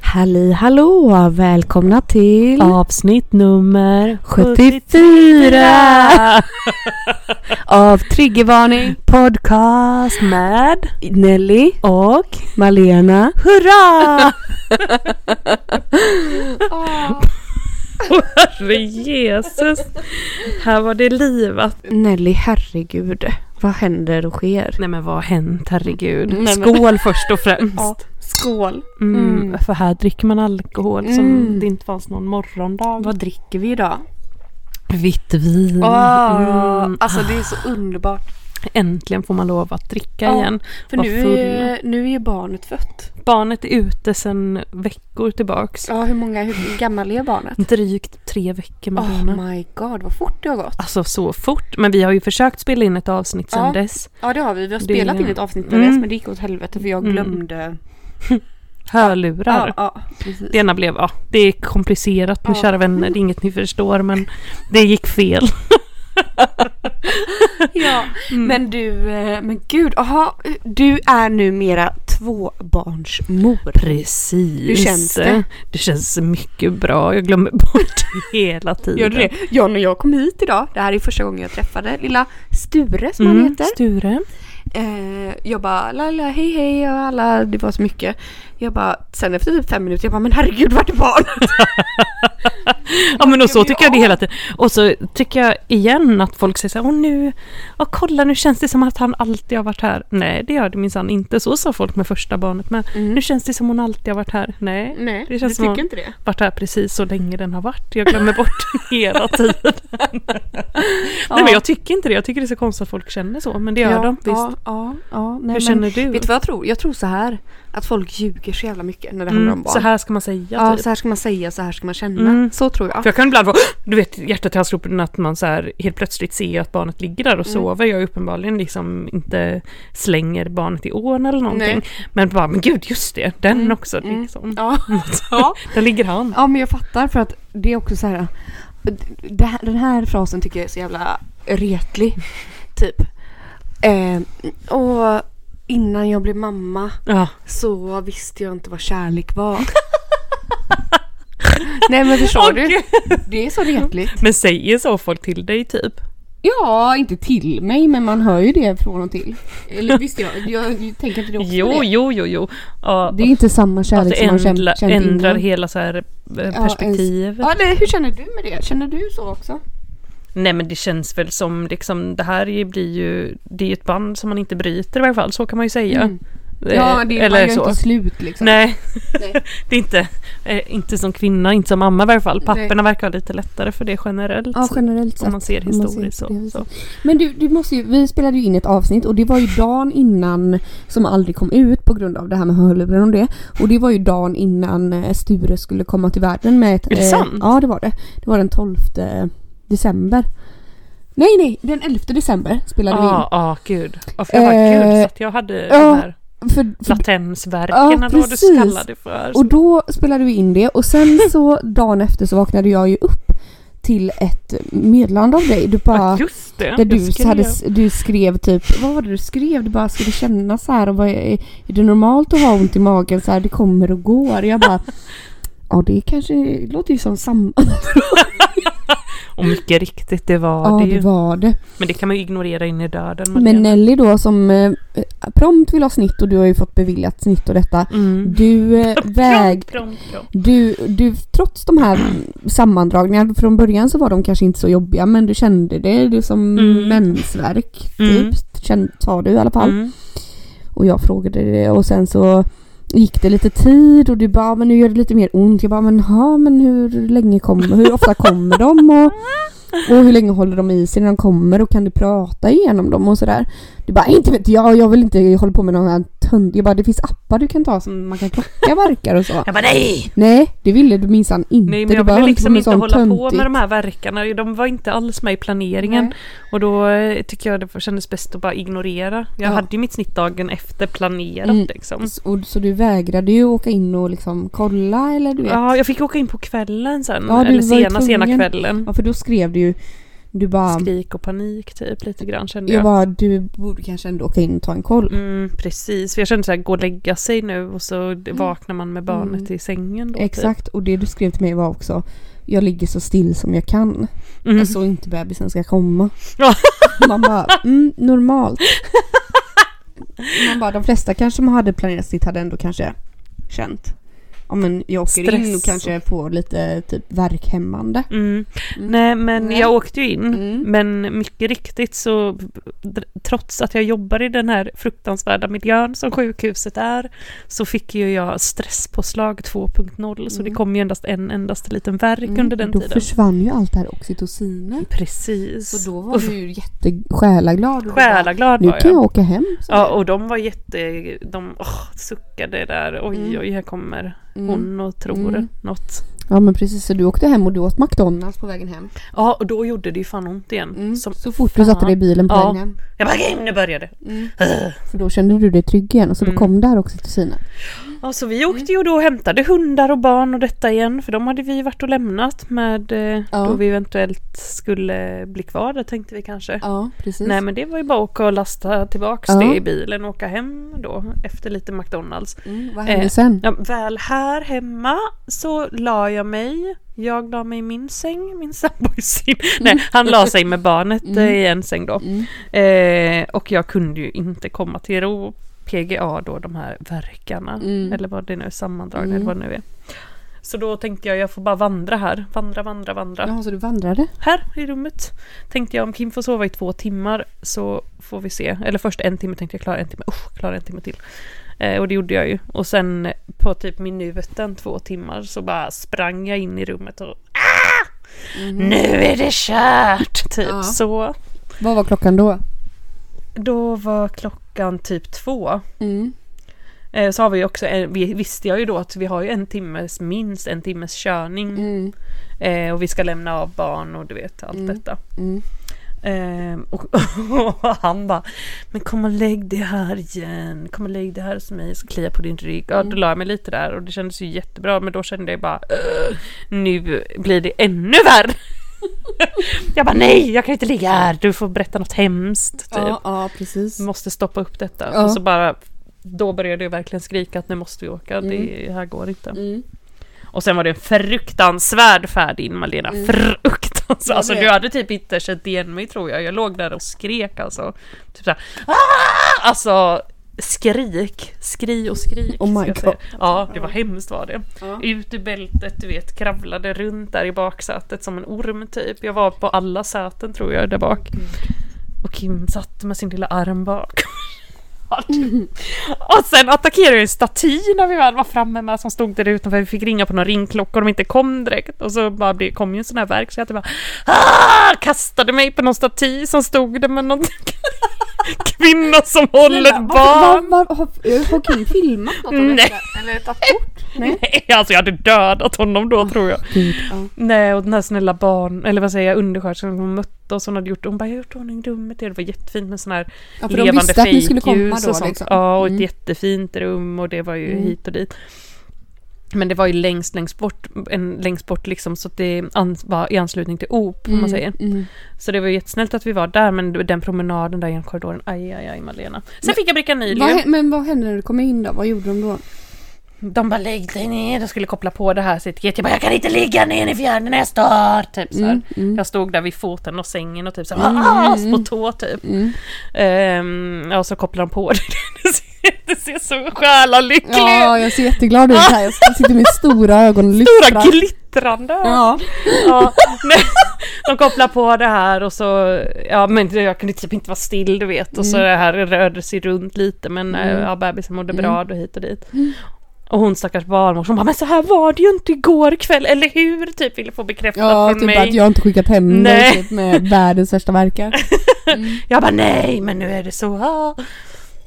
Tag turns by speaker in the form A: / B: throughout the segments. A: Halli hallå! Välkomna till
B: Avsnitt nummer
A: 74 av Triggervarning
B: Podcast med
A: Nelly,
B: och
A: Malena.
B: Hurra! Herre Jesus! Här var det livat.
A: Nelly, herregud. Vad händer och sker?
B: Nej men vad har hänt herregud.
A: Nej, men-
B: Skål först och främst.
A: skål!
B: Mm,
A: Mm.
B: För här dricker man alkohol
A: Mm.
B: som det inte fanns någon morgondag.
A: Vad dricker vi idag?
B: Vitt vin.
A: Åh,
B: Mm.
A: Alltså det är så underbart.
B: Äntligen får man lov att dricka
A: Ja.
B: igen.
A: För
B: Vad
A: nu är, nu är ju barnet fött.
B: Barnet är ute sedan veckor tillbaks.
A: Ja, hur många, hur gammal är barnet?
B: Drygt tre veckor med
A: Oh
B: barnen.
A: my god, vad fort det har gått.
B: Alltså så fort. Men vi har ju försökt spela in ett avsnitt sedan
A: Ja.
B: dess.
A: Ja, det har vi. Vi har
B: Det-
A: spelat in ett avsnitt med
B: Mm.
A: det, men det gick åt helvete för jag
B: Mm.
A: glömde.
B: Hörlurar.
A: Ja, ja, precis.
B: Det ena blev, ja, det är komplicerat med
A: Ja.
B: kära vänner, det är inget ni förstår men det gick fel.
A: Ja, Mm. men du, eh, men gud, aha, du är numera tvåbarnsmor.
B: Precis.
A: Hur känns det?
B: Det känns mycket bra, jag glömmer bort det hela tiden.
A: Gör du det? Ja, när jag kom hit idag, det här är första gången jag träffade lilla Sture som han
B: Mm,
A: heter.
B: Sture.
A: Eh, jag bara la la hej hej och alla, det var så mycket. Jag bara, sen efter typ fem minuter, jag bara men herregud vart är barnet?
B: Ja men och så
A: gör
B: tycker jag det hela tiden. Och så tycker jag igen att folk säger så här, åh nu, ja kolla nu känns det som att han alltid har varit här. Nej det gör det minsann inte, så sa folk med första barnet med. Nu känns det som hon alltid har varit här. Nej,
A: Mm. Nej,
B: det känns
A: du
B: som
A: tycker
B: hon
A: inte det?
B: varit här precis så länge den har varit. Jag glömmer bort den hela tiden. Nej men jag tycker inte det, jag tycker det är så konstigt att folk känner så. Men det gör
A: ja,
B: de visst.
A: Ja, ja, ja, nej,
B: Hur
A: men-
B: känner du?
A: Vet du vad jag tror? Jag tror så här att folk ljuger så jävla mycket när det handlar om
B: Mm,
A: barn.
B: så här ska man säga
A: ja,
B: typ.
A: så här ska man säga, så här ska man känna.
B: Mm.
A: Så tror jag.
B: För jag kan ibland vara, du vet hjärtat i halsgropen att man så här helt plötsligt ser att barnet ligger där och
A: Mm.
B: sover. Jag uppenbarligen liksom inte slänger barnet i ån eller någonting. Men bara, men gud just det, den
A: Mm.
B: också liksom.
A: Ja. ja.
B: Där ligger han.
A: ja, men jag fattar för att det är också så här. Det här den här frasen tycker jag är så jävla retlig. Typ. Eh, och innan jag blev mamma
B: Ja.
A: så visste jag inte vad kärlek var. Nej men förstår du? Det är så retligt.
B: Men säger så folk till dig typ?
A: Ja, inte till mig men man hör ju det från och till. Eller visst jag, jag tänker inte det också
B: Jo,
A: det.
B: jo, jo, jo. Ja,
A: Det är inte samma
B: att
A: kärlek
B: det
A: som man känt,
B: ändra,
A: känt
B: ändrar
A: innan.
B: hela så här eh, perspektivet.
A: Ja, eller hur känner du med det? Känner du så också?
B: Nej men det känns väl som liksom, det här är- blir ju, det är ju ett band som man inte bryter i varje fall, så kan man ju säga.
A: Mm.
B: Eh,
A: ja, det, man gör inte slut liksom.
B: Nej.
A: Nej.
B: det är inte, eh, inte som kvinna, inte som mamma i varje fall.
A: Nej.
B: Papperna verkar ha lite lättare för det generellt.
C: Ja, generellt
B: om
C: sett.
B: man ser
C: om man ser
B: historiskt
C: det
B: så.
C: så.
B: så.
C: Men du, du måste ju, vi spelade ju in ett avsnitt och det var ju dagen innan som aldrig kom ut på grund av det här med hörlurar och det. Och det var ju dagen innan eh, Sture skulle komma till världen med ett...
B: Är det
C: eh,
B: sant?
C: Ja, det var det. Det var den 12 december. Nej, nej, den 11 december spelade
B: Ja,
C: vi
B: ah, ah, gud. Ja, för jag var
C: Eh,
B: gud så att jag hade de
C: ja,
B: här
C: in. För, för, Ja,
B: latensverken eller vad du
C: precis.
B: kallar det för.
C: och då spelade vi in det och sen så dagen efter så vaknade jag ju upp till ett meddelande av dig. Du bara...
B: Ja, Just det.
C: Där
B: jag
C: du,
B: skrev.
C: hade, du skrev typ, vad var det du skrev? Du bara, ska det kännas så här? Och vad, är är det normalt att ha ont i magen så här? Det kommer och går. Jag bara, ja det kanske det låter ju som samma.
B: Och mycket riktigt, det var
C: Ja
B: det,
C: det
B: ju.
C: var det.
B: Men det kan man ju ignorera in i döden.
C: Men Nelly då som eh, prompt vill ha snitt och du har ju fått beviljat snitt och detta.
B: mm.
C: Du eh, väg...
B: Prom, prom, prom.
C: Du, du, trots de här sammandragningarna, från början så var de kanske inte så jobbiga men du kände det, det som
B: Mm.
C: mensvärk typ,
B: Mm.
C: kände, sa du i alla fall.
B: Mm.
C: Och jag frågade det och sen så gick det lite tid och du bara men nu gör det lite mer ont. Jag bara men ha men hur länge kommer, hur ofta kommer de? Och Och hur länge håller de i sig när de kommer och kan du prata igenom dem och sådär? Du bara, inte vet jag, jag vill inte hålla på med någon här tönt. Jag bara, det finns appar du kan ta som man kan plocka verkar och så.
B: Jag bara nej!
C: Nej, det ville du minsann inte.
B: Nej
C: Du
B: men jag
C: bara
B: ville
C: höll på
B: liksom
C: med
B: inte
C: sånt
B: hålla på
C: töntigt.
B: med de här verkarna. De var inte alls med i planeringen.
C: Nej.
B: Och då eh, tycker jag det kändes bäst att bara ignorera. Jag
C: Ja.
B: hade ju mitt snitt dagen efter planerat
C: Mm.
B: liksom.
C: S- Och, så du vägrade ju åka in och liksom kolla eller du vet?
B: Ja, jag fick åka in på kvällen sen.
C: Ja, du
B: eller
C: var ju
B: sena, sena
C: tvungen.
B: kvällen.
C: Ja, för då skrev du ju, du bara,
B: Skrik och panik typ lite grann kände
C: jag
B: jag.
C: bara, du borde kanske ändå åka in och ta en koll.
B: Mm, precis, för jag kände så här, gå och lägga sig nu och så d- vaknar man med barnet
C: Mm.
B: i sängen då. typ.
C: Exakt, och det du skrev till mig var också jag ligger så still som jag kan.
B: Typ. Mm.
C: Jag såg inte bebisen ska komma.
B: Ja.
C: Man bara, mm, normalt. Man bara, de flesta kanske som hade planerat sitt hade ändå kanske känt. Ja men jag åker in och
B: Stress.
C: kanske får lite typ värkhämmande.
B: Mm.
C: Mm.
B: Nej men
C: Nej.
B: jag åkte ju in.
C: Mm.
B: Men mycket riktigt så d- trots att jag jobbar i den här fruktansvärda miljön som sjukhuset är så fick ju jag stresspåslag 2.0 så det
C: Mm.
B: kom ju endast en endaste liten värk under den
C: då
B: tiden.
C: försvann ju allt det här oxytocinet.
B: Precis.
C: Så då var du ju jättesjälaglad. och du bara,
B: Själaglad
C: Nu
B: var
C: kan
B: jag.
C: jag åka hem. sa
B: Ja
C: du.
B: och de var jätte, de åh, suckade där. Oj
C: Mm.
B: oj här kommer
C: Mm.
B: hon och tror
C: Mm.
B: något.
C: ja men precis, så du åkte hem och du åt McDonalds på vägen hem.
B: Ja och då gjorde det ju fan ont igen.
C: Mm.
B: Som,
C: så fort du satte dig i bilen på
B: Ja.
C: vägen hem.
B: jag bara "Okej, nu börjar det.
C: Mm. För då kände du dig trygg igen och så
B: Mm.
C: då kom där också kusinen.
B: Ja, så vi
C: Mm.
B: åkte ju då och hämtade hundar och barn och detta igen för de hade vi varit och lämnat med eh,
C: Ja.
B: då vi eventuellt skulle bli kvar där tänkte vi kanske.
C: Ja, precis.
B: Nej men det var ju bara att åka och lasta tillbaks
C: Ja.
B: det i bilen och åka hem då efter lite McDonalds.
C: mm, vad
B: Eh,
C: hände sen?
B: Ja, väl här hemma så la jag mig. Jag la mig i min säng, min sambo i sin. Nej, han la sig med barnet eh, i en säng då.
C: Mm.
B: Eh, och jag kunde ju inte komma till ro. PGA då, de här verkarna.
C: Mm.
B: Eller vad det nu är, sammandragna
C: Mm.
B: eller vad det nu är. Så då tänkte jag, jag får bara vandra här. Vandra, vandra, vandra.
C: Ja, så du vandrade?
B: Här i rummet tänkte jag om Kim får sova i två timmar så får vi se. Eller först en timme tänkte jag klara en timme. Usch, klara en timme till. Eh, och det gjorde jag ju. Och sen på typ minuten två timmar så bara sprang jag in i rummet och ah!
C: Mm.
B: Nu är det kört! Typ
C: Ja.
B: så.
C: Vad var klockan då?
B: Då var klockan typ två.
C: Mm.
B: Eh, så har vi också, en, vi, visste jag ju då att vi har ju en timmes, minst en timmes körning.
C: Mm.
B: Eh, och vi ska lämna av barn och du vet allt
C: Mm.
B: detta.
C: Mm.
B: Typ. Ehm, och, och han bara, men kom och lägg dig här igen, kom och lägg dig här hos mig, jag ska klia på din rygg. Ja,
C: Mm.
B: då la jag mig lite där och det kändes ju jättebra, men då kände jag bara, "Ugh, nu blir det ännu värre. jag bara, nej, jag kan inte ligga här, du får berätta något hemskt. Typ.
C: Ja, ja, precis.
B: Vi måste stoppa upp detta.
C: Ja.
B: Och så bara, då började jag verkligen skrika att nu måste vi åka, det här går inte.
C: Mm.
B: Och sen var det en fruktansvärd färd in Malena, fruktansvärd.
C: Mm. Jag
B: Alltså
C: vet.
B: du hade typ inte känt igen mig tror jag, jag låg där och skrek alltså. Typ såhär, "Ah!" alltså skrik, skri och skrik.
C: Oh my
B: ska jag
C: God.
B: säga. Ja, det var hemskt var det.
C: Ja.
B: Ut ur bältet, du vet, kravlade runt där i baksätet som en orm typ. Jag var på alla säten tror jag där bak.
C: Mm.
B: Och Kim satt med sin lilla arm bak. Och sen attackerade jag en staty när vi väl var framme med som stod där utanför. Vi fick ringa på någon ringklocka och de inte kom direkt. Och så bara blev, kom ju en sån här verk så jag typ bara ah! kastade mig på någon staty som stod där med någon kvinna som håller ett barn.
C: Var, var, har, har Kim filmat något av
B: Nej.
C: detta? Eller tagit kort? Nej.
B: Nej, alltså jag hade dödat honom då tror jag.
C: Gud, ja.
B: Nej, och den här snälla barn, eller vad säger jag, undersköterskan hon mötte oss, hon hade gjort, hon bara jag har gjort i ordning rummet, det var jättefint med sån här
C: ja för de
B: levande
C: visste att ni skulle komma
B: fejkljus
C: då
B: och sånt.
C: liksom.
B: Ja, och ett
C: Mm.
B: jättefint rum och det var ju
C: Mm.
B: hit och dit. Men det var ju längst, längst bort, en, längst bort liksom, så att det an, var i anslutning till OP, om man säger.
C: Mm. Mm.
B: Så det var ju jättesnällt att vi var där, men den promenaden där genom korridoren, aj, aj, aj, Malena. Sen fick jag bricka
C: Vad,
B: Nyligen.
C: hä- men vad hände när du kom in då? Vad gjorde de då?
B: De bara lägg dig ner, de skulle koppla på det här citygate. Jag bara jag kan inte ligga ner i fjärden när jag stör. Typ så här.
C: Mm, mm.
B: Jag stod där vid foten och sängen och typ så här, "Ah", på tå typ.
C: Mm.
B: Ehm, ja, så kopplar de på det. Det ser, det ser så själalycklig ut.
C: Ja, jag ser jätteglad ut här. Jag sitter med stora ögon och lyssnar.
B: Stora glittrande.
C: Ja.
B: Ja, nej, de kopplar på det här och så, ja men jag kunde typ inte vara still du eh,
C: Mm.
B: vet och så det här rörde sig runt lite men mm. ja, bebisen mådde bra då hit och dit. Och hon stackars barnmorska, hon bara “men så här var det ju inte igår kväll, eller hur?” typ ville få bekräftat
C: Ja,
B: från
C: typ
B: mig.
C: att jag inte skickat hem
B: Nej.
C: dig typ, med världens värsta verkar.
B: Jag bara nej, men nu är det så. ah."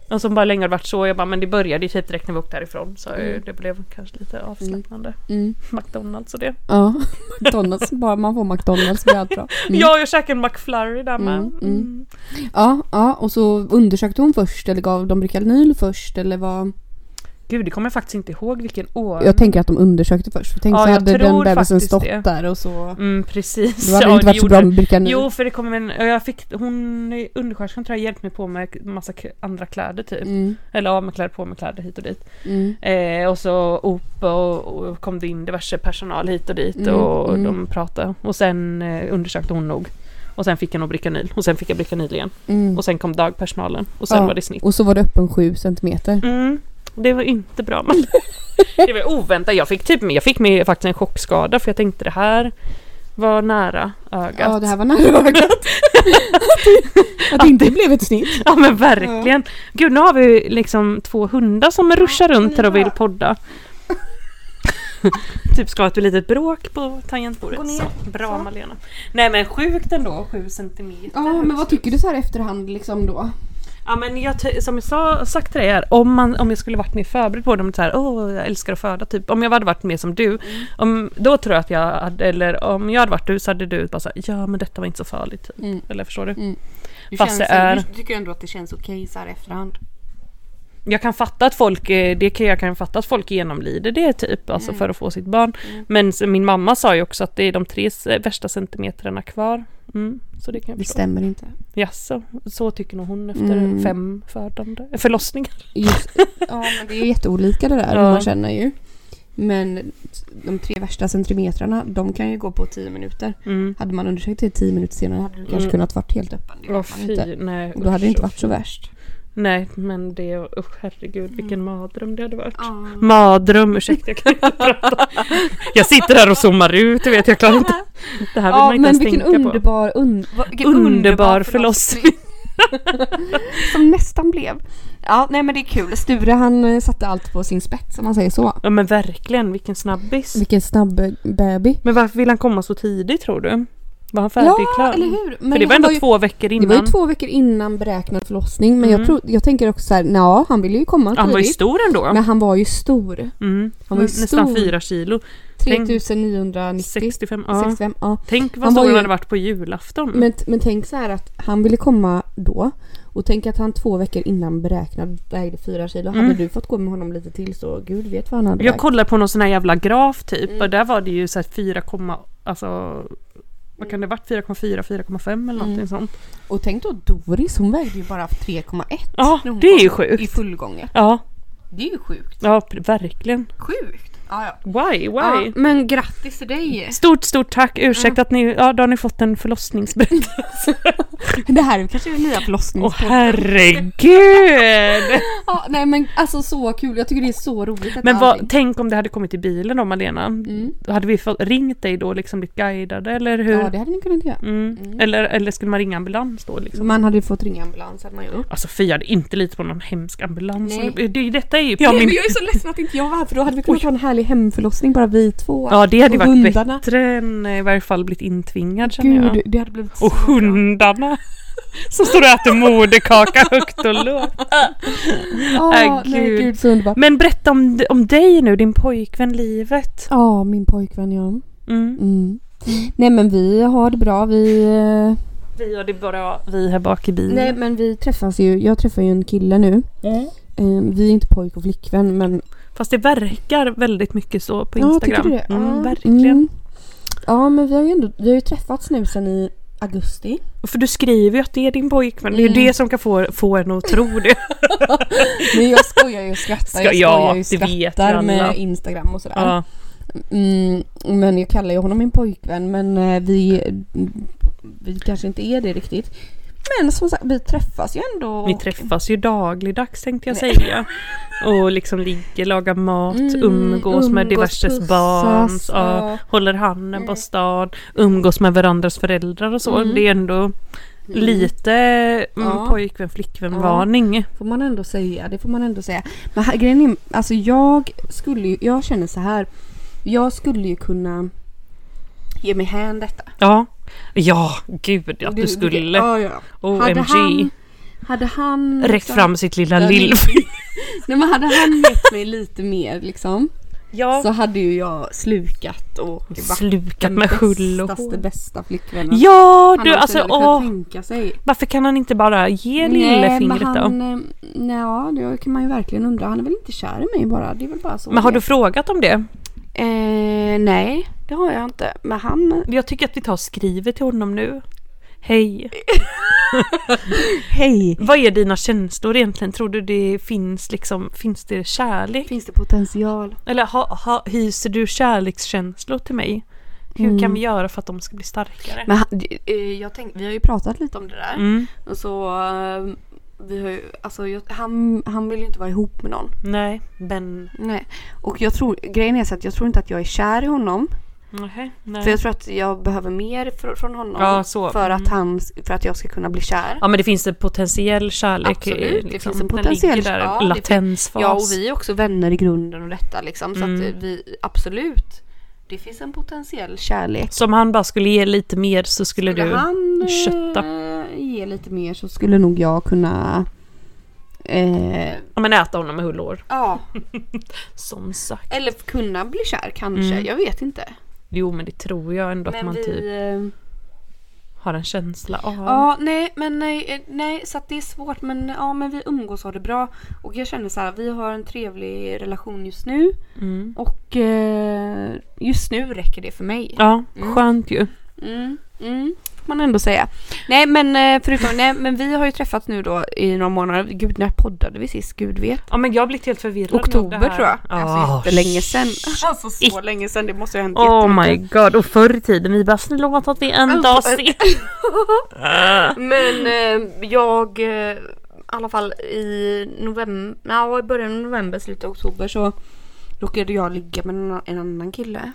B: Och så bara länge har det varit så. Jag bara men det började ju typ direkt när vi åkte härifrån. Så eh, det blev kanske lite avslappnande.
C: Mm.
B: McDonalds och det.
C: Ja, McDonalds. Bara man får McDonalds blir allt bra. Mm.
B: Ja, jag käkade en McFlurry där med.
C: Mm,
B: Mm,
C: mm. Ja, ja, och så undersökte hon först eller gav de Bricanyl först eller vad?
B: Gud, det kommer jag faktiskt inte ihåg vilken år.
C: Jag tänker att de undersökte först. Tänk
B: Ja,
C: så
B: jag
C: hade den
B: tror
C: bebisen
B: faktiskt
C: stått
B: det.
C: där och så.
B: Mm, precis.
C: Då hade
B: Ja,
C: det inte varit så bra
B: gjorde-
C: med Bricanyl.
B: Jo, för det kom en, och jag fick, hon är undersköterskan tror jag hjälpte mig på med massa k- andra kläder typ.
C: Mm,
B: Eller av med kläder, på med kläder hit och dit.
C: mm.
B: Eh, och så upp och, och kom det in diverse personal hit och dit
C: Mm,
B: och
C: mm.
B: de pratade. Och sen eh, undersökte hon nog. Och sen fick jag nog Bricanyl och sen fick jag Bricanyl igen.
C: Mm.
B: Och sen kom dagpersonalen och sen
C: Ja.
B: var det snitt.
C: Och så var det öppen 7 centimeter.
B: Mm, det var inte bra. Men det var oväntat. Jag fick, typ, jag fick mig faktiskt en chockskada för jag tänkte det här var nära ögat.
C: Ja, det här var nära ögat. Att det inte blev ett snitt.
B: Ja men verkligen. Gud nu har vi liksom två hundar som ruschar runt här och vill podda. typ ska ha ett litet bråk på tangentbordet.
D: Gå ner.
B: Så, bra
D: Så.
B: Malena. Nej men sjukt ändå, sju centimeter.
C: Ja, men vad tycker du så här efterhand liksom då?
B: Ja men jag, ty- som jag sa, sagt till dig här, om, man, om jag skulle varit mer förberedd på det, om så här, åh jag älskar att föda, typ. Om jag hade varit mer som du, om, då tror jag att jag hade, eller om jag hade varit du så hade du bara såhär, ja men detta var inte så farligt. Typ.
C: Mm.
B: Eller förstår du?
A: Du,
B: Fast det är-
A: du tycker ändå att det känns okej så här i efterhand.
B: jag kan fatta att folk, eh, det kan, jag kan fatta att folk genomlider det typ, alltså
C: Mm.
B: för att få sitt barn. Men så, min mamma sa ju också att det är de tre s- eh, värsta centimeterna kvar. Mm, så det kan jag
C: Det
B: förstå.
C: stämmer inte.
B: Jaså, så tycker nog hon efter
C: Mm.
B: fem födande, förlossningar.
C: Just, ja, men det är jätteolika det där,
B: Ja.
C: man känner ju. Men de tre värsta centimetrarna, de kan ju gå på 10 minuter.
B: Mm.
C: Hade man undersökt det 10 minuter senare hade det kanske
B: Mm.
C: kunnat varit helt öppen. Det
B: Åh
C: vet man inte.
B: fy, nej.
C: Och då hade det
B: usch,
C: inte
B: usch.
C: varit så värst.
B: Nej, men det, usch herregud vilken
C: Mm.
B: mardröm det hade varit. Mardröm, ursäkta jag kan inte prata. Jag sitter här och zoomar ut, jag vet jag klarar inte. Det här vill man
C: Ja,
B: inte
C: men
B: ens
C: vilken
B: tänka på.
C: underbar, un,
B: Underbar förlossning.
C: som nästan blev. Ja, nej men det är kul. Sture han eh, satte allt på sin spets om man säger så.
B: Ja men verkligen, vilken snabbis.
C: Vilken snabb eh, baby.
B: Men varför vill han komma så tidigt tror du? Var han färdig
C: Ja,
B: klar?
C: eller hur? Men
B: För det var
C: han
B: ändå
C: ju-
B: två veckor
C: Det
B: innan.
C: var ju två veckor innan beräknad förlossning men jag,
B: Mm.
C: tror, jag tänker också såhär, ja han ville ju komma
B: han var ju
C: tidigt.
B: stor ändå.
C: Men han var ju stor.
B: mm.
C: han var ju
B: Nästan
C: stor.
B: fyra kilo. Tänk-
C: 3990.
B: 65. Ja.
C: 65, ja.
B: Tänk vad
C: Han var
B: stor
C: ju-
B: han hade varit på julafton.
C: Men, men tänk så här att han ville komma då och tänk att han två veckor innan beräknad vägde fyra kilo. Hade
B: Mm.
C: du fått gå med honom lite till så gud vet vad han hade
B: jag
C: vägt.
B: kollade på någon sån här jävla graf typ
C: Mm.
B: och där var det ju så här 4, alltså vad kan det ha varit? 4,4, 4,5 eller
C: Mm.
B: någonting sånt.
C: Och tänk då Doris, hon vägde ju bara 3,1
B: Ja,
C: när hon
B: det är ju
C: kom
B: sjukt.
C: alltså, i fullgången.
B: Ja,
C: Det är ju sjukt.
B: ja, pr- verkligen.
C: Sjukt! Ja, ja.
B: Why,
C: Ja,
B: why?
C: men grattis till dig!
B: Stort, stort tack. Ursäkta att ni, ja då har ni fått en förlossningsberättelse.
C: Det här är kanske den nya
B: Åh
C: förlossnings...
B: herregud!
C: Ja, nej men alltså så kul, jag tycker det är så roligt att
B: Men
C: allting- Mm.
B: vad, tänk om det hade kommit i bilen då Malena. Då Hade vi fått, ringt dig då och liksom blivit guidade eller hur?
C: Ja det hade ni kunnat göra.
B: mm. Eller, eller skulle man ringa ambulans då liksom?
C: Man hade ju fått ringa ambulans hade man gjort.
B: Alltså Fia hade inte litat på någon hemsk ambulans.
C: Nej.
B: Det- Det, detta är ju ja,
C: Men
B: min...
C: jag är så ledsen att inte jag var här för då hade vi kunnat ha en härlig hemförlossning bara vi två.
B: Ja det hade ju
C: Och
B: varit
C: hundarna.
B: bättre än eh, i varje fall blivit intvingad känner jag.
C: Gud, det hade blivit så
B: Och hundarna! Som står och äter moderkaka högt och lågt.
C: Ja,
B: Äh,
C: Ah, nej
B: gud.
C: gud så underbart.
B: Men berätta om, d- om dig nu, din pojkvän, livet.
C: Ja, Ah, min pojkvän ja.
B: Mm.
C: Mm. Nej men vi har det bra, vi... eh,
B: Vi och det är bara vi här bak i bilen.
C: Nej men vi träffas ju, jag träffar ju en kille nu.
B: Mm.
C: Eh, Vi är inte pojk och flickvän men...
B: Fast det verkar väldigt mycket så på
C: Ja,
B: Instagram.
C: tycker du det?
B: Mm,
C: Ja,
B: verkligen.
C: mm. Ja men vi har ju ändå, vi har ju träffats nu sen i augusti.
B: För du skriver ju att det är din pojkvän. Det är
C: Mm.
B: ju det som kan få, få en att tro det.
C: Men jag skojar ju och skrattar.
B: Ska-
C: jag
B: ja,
C: skojar ju och
B: det vet ju
C: skrattar
B: alla.
C: med Instagram och sådär.
B: ja.
C: Mm, men jag kallar ju honom min pojkvän men eh, vi, vi kanske inte är det riktigt. Men som sagt, vi träffas ju ändå.
B: Ni träffas ju dagligdags tänkte jag säga. Och liksom ligger, lagar mat,
C: Mm,
B: umgås med
C: umgås,
B: diverses
C: pussas,
B: barn.
C: ja.
B: Ja. Håller handen på stan, umgås med varandras föräldrar och så. Det är ändå Lite mm,
C: Mm. Ja.
B: pojkvän flickvän
C: Ja.
B: varning.
C: Får man ändå säga, det får man ändå säga. Men här, grejen är, alltså jag skulle ju, jag känner så här. Jag skulle ju kunna ge mig hän detta.
B: Ja. Ja, gud att du skulle.
C: Ja, ja.
B: OMG.
C: Hade han, hade han...
B: Räckt
C: liksom-
B: fram sitt lilla
C: Ja,
B: lill.
C: Nej men hade han gett mig lite mer liksom.
B: Ja.
C: Så hade ju jag slukat och varit
B: Slukat
C: den
B: med hull och
C: bästaste,
B: hår.
C: bästa flickvännen.
B: Ja,
C: han
B: du
C: hade
B: alltså
C: kunnat
B: åh.
C: tänka sig.
B: Varför kan han inte bara ge lillfingret då?
C: han... eh, Nej, ja, det kan man ju verkligen undra. Han är väl inte kär i mig bara. Det är väl bara så.
B: Men har
C: det
B: du frågat om det?
C: är. Eh, nej, det har jag inte. Men han...
B: Jag tycker att vi tar och skriver till honom nu. Hej!
C: Hej!
B: Vad är dina känslor egentligen? Tror du det finns liksom, finns det kärlek?
C: Finns det potential?
B: Eller ha, ha, hyser du kärlekskänslor till mig? Hur
C: Mm.
B: kan vi göra för att de ska bli starkare?
C: Men han, eh, jag tänk, vi har ju pratat lite om det där.
B: Mm,
C: Och så... eh, Vi har ju, alltså, jag, han, han vill ju inte vara ihop med någon.
B: nej, men...
C: Nej. Och jag tror, grejen är så att jag tror inte att jag är kär i honom.
B: Nej, nej.
C: För jag tror att jag behöver mer fr- från honom.
B: Ja, så.
C: För, att
B: Mm.
C: han, för att jag ska kunna bli kär.
B: Ja men det finns en potentiell kärlek.
C: Absolut,
B: eh,
C: det finns en potentiell-
B: Den ligger där,
C: ja,
B: en
C: det
B: latensfas.
C: Ja och vi är också vänner i grunden och detta liksom. Så
B: Mm.
C: att vi, absolut. Det finns en potentiell kärlek.
B: Som han bara skulle ge lite mer så skulle, du...
C: han eh,
B: kötta?
C: ge lite mer så skulle nog jag kunna... Eh,
B: Ja men äta honom med hull och hår.
C: ja,
B: Som sagt.
C: eller kunna bli kär kanske.
B: Mm.
C: Jag vet inte.
B: Jo men det tror jag ändå att
C: Men
B: man
C: vi...
B: typ
C: eh,
B: har en känsla av.
C: Ja, nej, men nej, eh, nej, så att det är svårt. Men ja, men vi umgås och har det bra. Och jag känner så här, vi har en trevlig relation just nu.
B: Mm.
C: Och eh, just nu räcker det för mig.
B: Ja,
C: Mm.
B: skönt ju.
C: Mm, mm, får man ändå säga. Nej, men eh, förutom, nej, men vi har ju träffats nu då i några månader. Gud, när poddade vi sist? Gud vet.
B: Ja men jag har blivit helt förvirrad av det
C: Oktober
B: här.
C: tror jag.
B: Ja.
C: Alltså jättelänge sedan. Alltså
B: shit.
C: länge sedan, det måste ju ha hänt
B: Ah, Oh
C: jättemycket. Alltså,
B: my god, och förr i tiden vi bara snälla låt att vi är en dag
C: eh,
B: sen.
C: Men eh, jag, eh, i alla fall i november, ja, i början av november, slutet av oktober så råkade jag ligga med en, annan- en annan kille.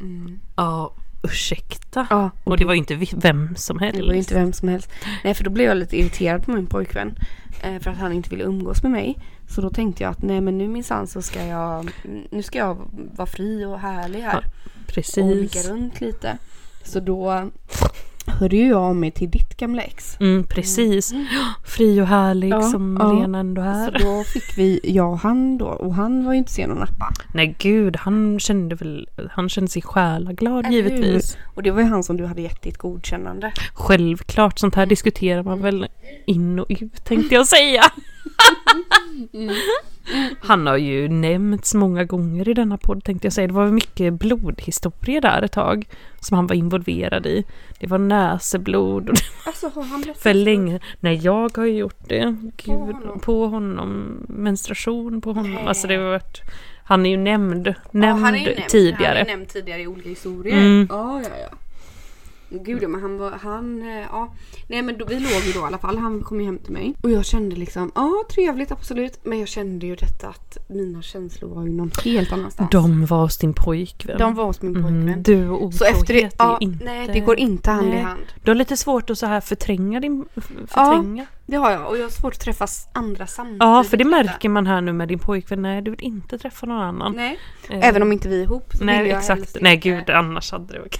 C: Mm.
B: Ja, ursäkta.
C: Ja,
B: Och det var ju inte vi- vem som helst.
C: det var ju inte vem som helst. Nej, för då blev jag lite irriterad på min pojkvän eh, för att han inte ville umgås med mig. Så då tänkte jag att nej men nu minsann så ska jag, nu ska jag vara fri och härlig här. och ligga
B: Precis.
C: runt lite. Så då hörde ju jag av mig till ditt gamla ex.
B: Mm, precis. Fri och härlig
C: Ja,
B: som
C: ja.
B: Lena ändå
C: Så
B: är.
C: då fick vi, jag och han då, och han var ju inte sen att nappa.
B: Nej gud, han kände väl, han kände sig själaglad givetvis.
C: Och det var ju han som du hade gett ditt godkännande.
B: Självklart, sånt här
C: Mm.
B: diskuterar man väl in och ut tänkte jag säga. Han har ju nämnts många gånger i denna podd tänkte jag säga. Det var väl mycket blodhistoria där ett tag som han var involverad i. Det var näseblod och det
C: Alltså har han blivit
B: för länge. Nej, jag har ju gjort det. Gud,
C: honom.
B: på honom. Menstruation på honom. Alltså det har varit... Han är ju nämnd,
C: Ja,
B: nämnd
C: han är ju nämnt- Han
B: tidigare.
C: är ju nämnt tidigare i olika historier.
B: Mm.
C: Ja, ja, ja. Gud ja, men han var, han, eh, ja. Nej men då, vi låg ju då i alla fall, han kom ju hem till mig. Och jag kände liksom, ja trevligt absolut. Men jag kände ju detta att mina känslor var ju någon helt annanstans.
B: De var hos din pojkvän.
C: De var hos min pojkvän.
B: Mm, du och
C: Så efter det,
B: är ju
C: ja,
B: inte...
C: nej det går inte hand i
B: Nej.
C: hand.
B: Du har lite svårt att så här förtränga din... f- Förtränga.
C: Det har jag och jag har svårt att träffa s- andra samtidigt.
B: Ja, för det
C: detta.
B: märker man här nu med din pojkvän. Nej, du vill inte träffa någon annan.
C: Nej.
B: Eh,
C: Även om inte vi är ihop så
B: Nej,
C: vill jag
B: exakt.
C: helst
B: Nej,
C: inte-
B: gud, annars hade det varit...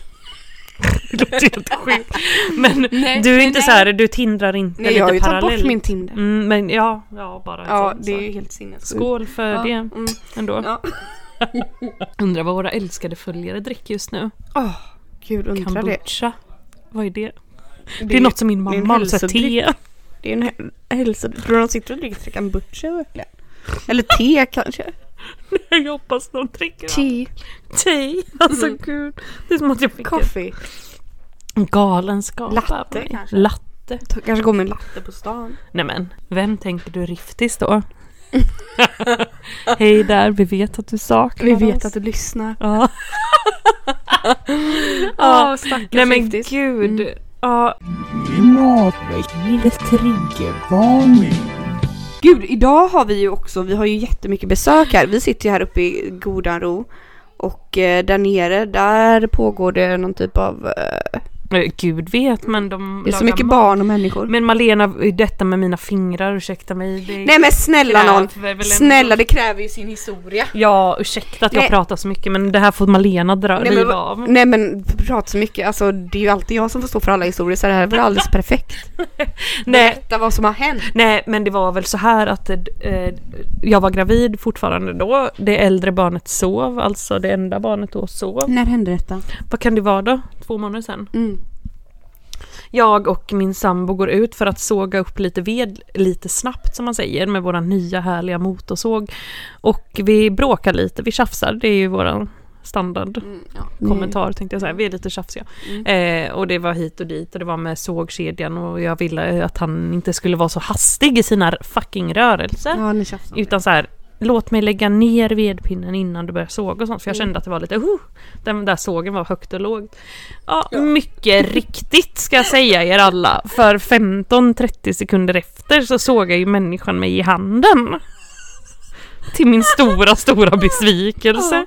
B: det låter helt sjukt. Men
C: Nej,
B: du är
C: men
B: inte
C: nej.
B: så här, du tindrar inte
C: Nej
B: lite
C: jag har ju tagit
B: parallellt.
C: bort min Tinder.
B: Mm, men ja, ja bara en
C: Ja
B: sån
C: det är ju
B: sak.
C: helt sinnessjukt.
B: Skål för
C: Ja,
B: det
C: mm.
B: ändå.
C: Ja.
B: Undrar vad våra älskade följare dricker just nu.
C: Åh, gud undrar det.
B: Kombucha. Vad är det?
C: Det,
B: Det är något som min
C: det är en
B: mamma har, så här
C: hälsodryck.
B: te.
C: Det är en hä- hälsodryck. Tror du de sitter och dricker kombucha verkligen? Eller te kanske?
B: Jag hoppas de dricker allt.
C: Tea,
B: te. Alltså
C: Mm.
B: gud. Det är som att jag fick
C: coffee.
B: en galenskap.
C: Latte,
B: av mig.
C: kanske.
B: Latte.
C: Ta- Kanske går med en latte på stan.
B: Nej men, vem tänker du Riftis då? Hej där, vi vet att du saknar
C: Vi vet
B: oss.
C: att du lyssnar.
B: Ja.
C: Åh,
B: Ja.
C: stackars
B: Nej men
C: riktigt.
B: gud.
C: Mm.
B: Ja,
E: Klimatväckning, triggervarning.
C: Gud, idag har vi ju också, vi har ju jättemycket besök här. Vi sitter ju här uppe i Godanro och eh, där nere, där pågår det någon typ av eh,
B: Eh, Gud vet, men de
C: Det är så
B: lagar
C: mycket
B: mat.
C: barn och människor.
B: Men Malena, detta med mina fingrar, ursäkta mig. Det
C: Nej men snälla
B: kräver
C: någon!
B: väl ändå-
C: Snälla det kräver ju sin historia.
B: Ja, ursäkta att jag
C: Nej.
B: pratar så mycket men det här får Malena dra,
C: Nej, men
B: riva
C: vad- Mm.
B: av.
C: Nej men prata så mycket, alltså det är ju alltid jag som får stå för alla historier så det här var alldeles perfekt.
B: Nej,
C: Berätta vad som har hänt.
B: nej, men det var väl så här att eh, jag var gravid fortfarande då. Det äldre barnet sov, alltså det enda barnet då sov.
C: När hände detta?
B: Vad kan det vara då? Två månader sedan?
C: Mm.
B: Jag och min sambo går ut för att såga upp lite ved lite snabbt som man säger med våra nya härliga motorsåg. Och vi bråkar lite, vi tjafsar, det är ju våran standard.
C: Mm,
B: kommentar tänkte jag säga. Vi är lite tjafsiga. Eh, och det var hit och dit och det var med sågkedjan och jag ville att han inte skulle vara så hastig i sina fucking rörelser.
C: Ja ni tjafsar. om det.
B: Utan så här, låt mig lägga ner vedpinnen innan du börjar såga och sånt. För jag kände att det var lite, uh, den där sågen var högt och lågt. Ja, mycket riktigt ska jag säga er alla. För 15-30 sekunder efter så såg jag ju människan mig i handen. Till min stora, stora besvikelse.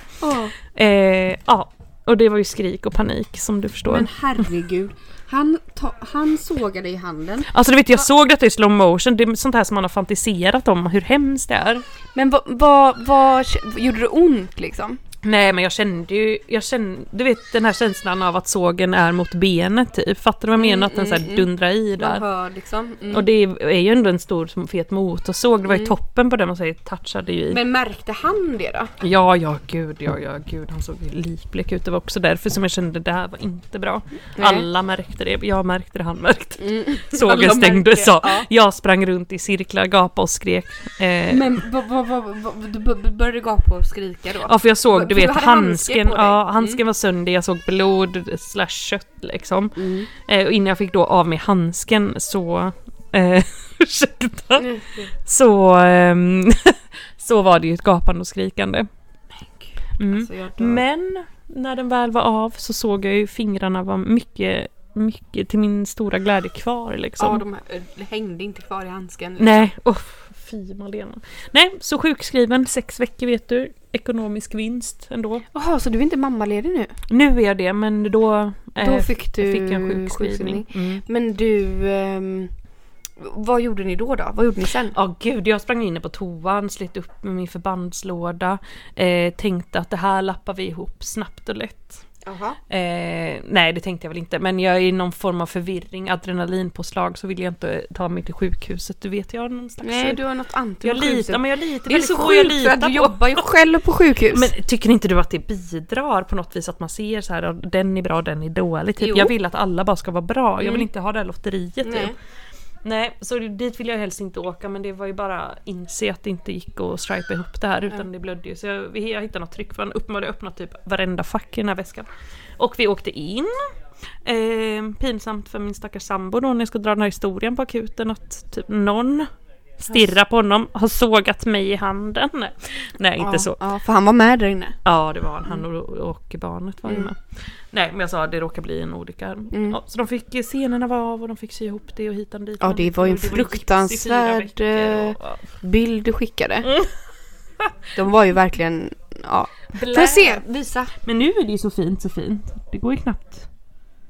B: Eh, ja, och det var ju skrik och panik som du förstår.
C: Men herregud. Han, ta, han sågade i handen.
B: Alltså du vet, jag såg detta i slow motion. Det är sånt här som man har fantiserat om, hur hemskt det är.
C: Men vad, vad, vad, gjorde det ont liksom?
B: Nej men jag kände ju, jag kände, du vet den här känslan av att sågen är mot benet typ. Fattar du vad jag menar? Att den så här dundrar i där.
C: Mm, Man hör liksom. Mm.
B: Och det är ju ändå en stor som fet motorsåg. Det var ju toppen på den man säger touchade ju i.
C: Men märkte han det då?
B: Ja, ja gud, ja, ja gud. Han såg ju livblek ut. Det var också därför som jag kände det här var inte bra.
C: Nej. Mm.
B: Alla märkte det. Jag märkte det, han märkte det. Sågen
C: Alla
B: stängde
C: märkte,
B: sa.
C: ja.
B: Jag sprang runt i cirklar, gapade och skrek. Eh,
C: Men vad, vad, vad, vad, du bör- började gapa och skrika då?
B: Ja för jag såg,
C: För-
B: du
C: för
B: vet
C: du hade handske
B: handsken,
C: på dig. Mm.
B: ja, handsken var sönder, jag såg blod slash kött liksom.
C: Mm.
B: Eh, och innan jag fick då av mig handsken så, eh, ursäkta, så, ehm, så var det ju ett gapande och skrikande. Mm.
C: Alltså, jag dör.
B: Men när den väl var av så såg jag ju fingrarna var mycket, mycket till min stora glädje kvar liksom.
C: Ja, de här, eh, hängde inte kvar i handsken.
B: Nej, oh, fy Malena. Nej, så sjukskriven sex veckor vet du. Ekonomisk vinst ändå.
C: Jaha, så du är inte mammaledig nu?
B: Nu är jag det, men då...
C: Då
B: eh,
C: fick du
B: fick jag en sjukskrivning. Mm.
C: Men du, ehm, vad gjorde ni då då? Vad gjorde ni sen?
B: Ja gud, jag sprang in på toan, slet upp med min förbandslåda. Eh, tänkte att det här lappar vi ihop snabbt och lätt.
C: Jaha.
B: Eh, nej, det tänkte jag väl inte, men jag är i någon form av förvirring, adrenalinpåslag, så vill jag inte ta mig till sjukhuset. Du vet, jag har någon slags...
C: Nej, du har något anti
B: jag
C: på
B: litar,
C: sjukhuset.
B: men jag litar
C: Det är
B: väldigt
C: så
B: få jag
C: sjukt för att
B: litar
C: du
B: på.
C: jobbar ju själv på sjukhus.
B: Men tycker inte du att det bidrar på något vis att man ser så här, den är bra, den är dålig. Typ.
C: Jo. Mm.
B: Jag vill att alla bara ska vara bra, jag vill inte ha det här lotteriet. Typ.
C: Nej.
B: Nej, så dit vill jag helst inte åka men det var ju bara att inse att det inte gick att stripa ihop det här utan det blödde ju. Så jag, jag hittade något tryck för uppenbarligen öppnat typ varenda fack i den här väskan. Och vi åkte in. Eh, pinsamt för min stackars sambo då när jag ska dra den här historien på akuten att typ någon stirrar på honom, har sågat mig i handen. Nej, inte
C: ja,
B: så.
C: Ja, för han var med där inne.
B: Ja, det var han. Han
C: Mm.
B: och, och barnet var ju med. Nej, men jag sa det råkade bli en olycka. här.
C: Mm.
B: Ja, så de fick, scenerna var av och de fick sy ihop det och hitan dit.
C: Ja, det var ju en
B: Och gips i fyra
C: fruktansvärd, eh,
B: veckor och- ja.
C: Bild du
B: Mm.
C: skickade. De var ju verkligen, ja. Får jag se? Visa.
B: Men nu är det ju så fint, så fint. Det går ju knappt.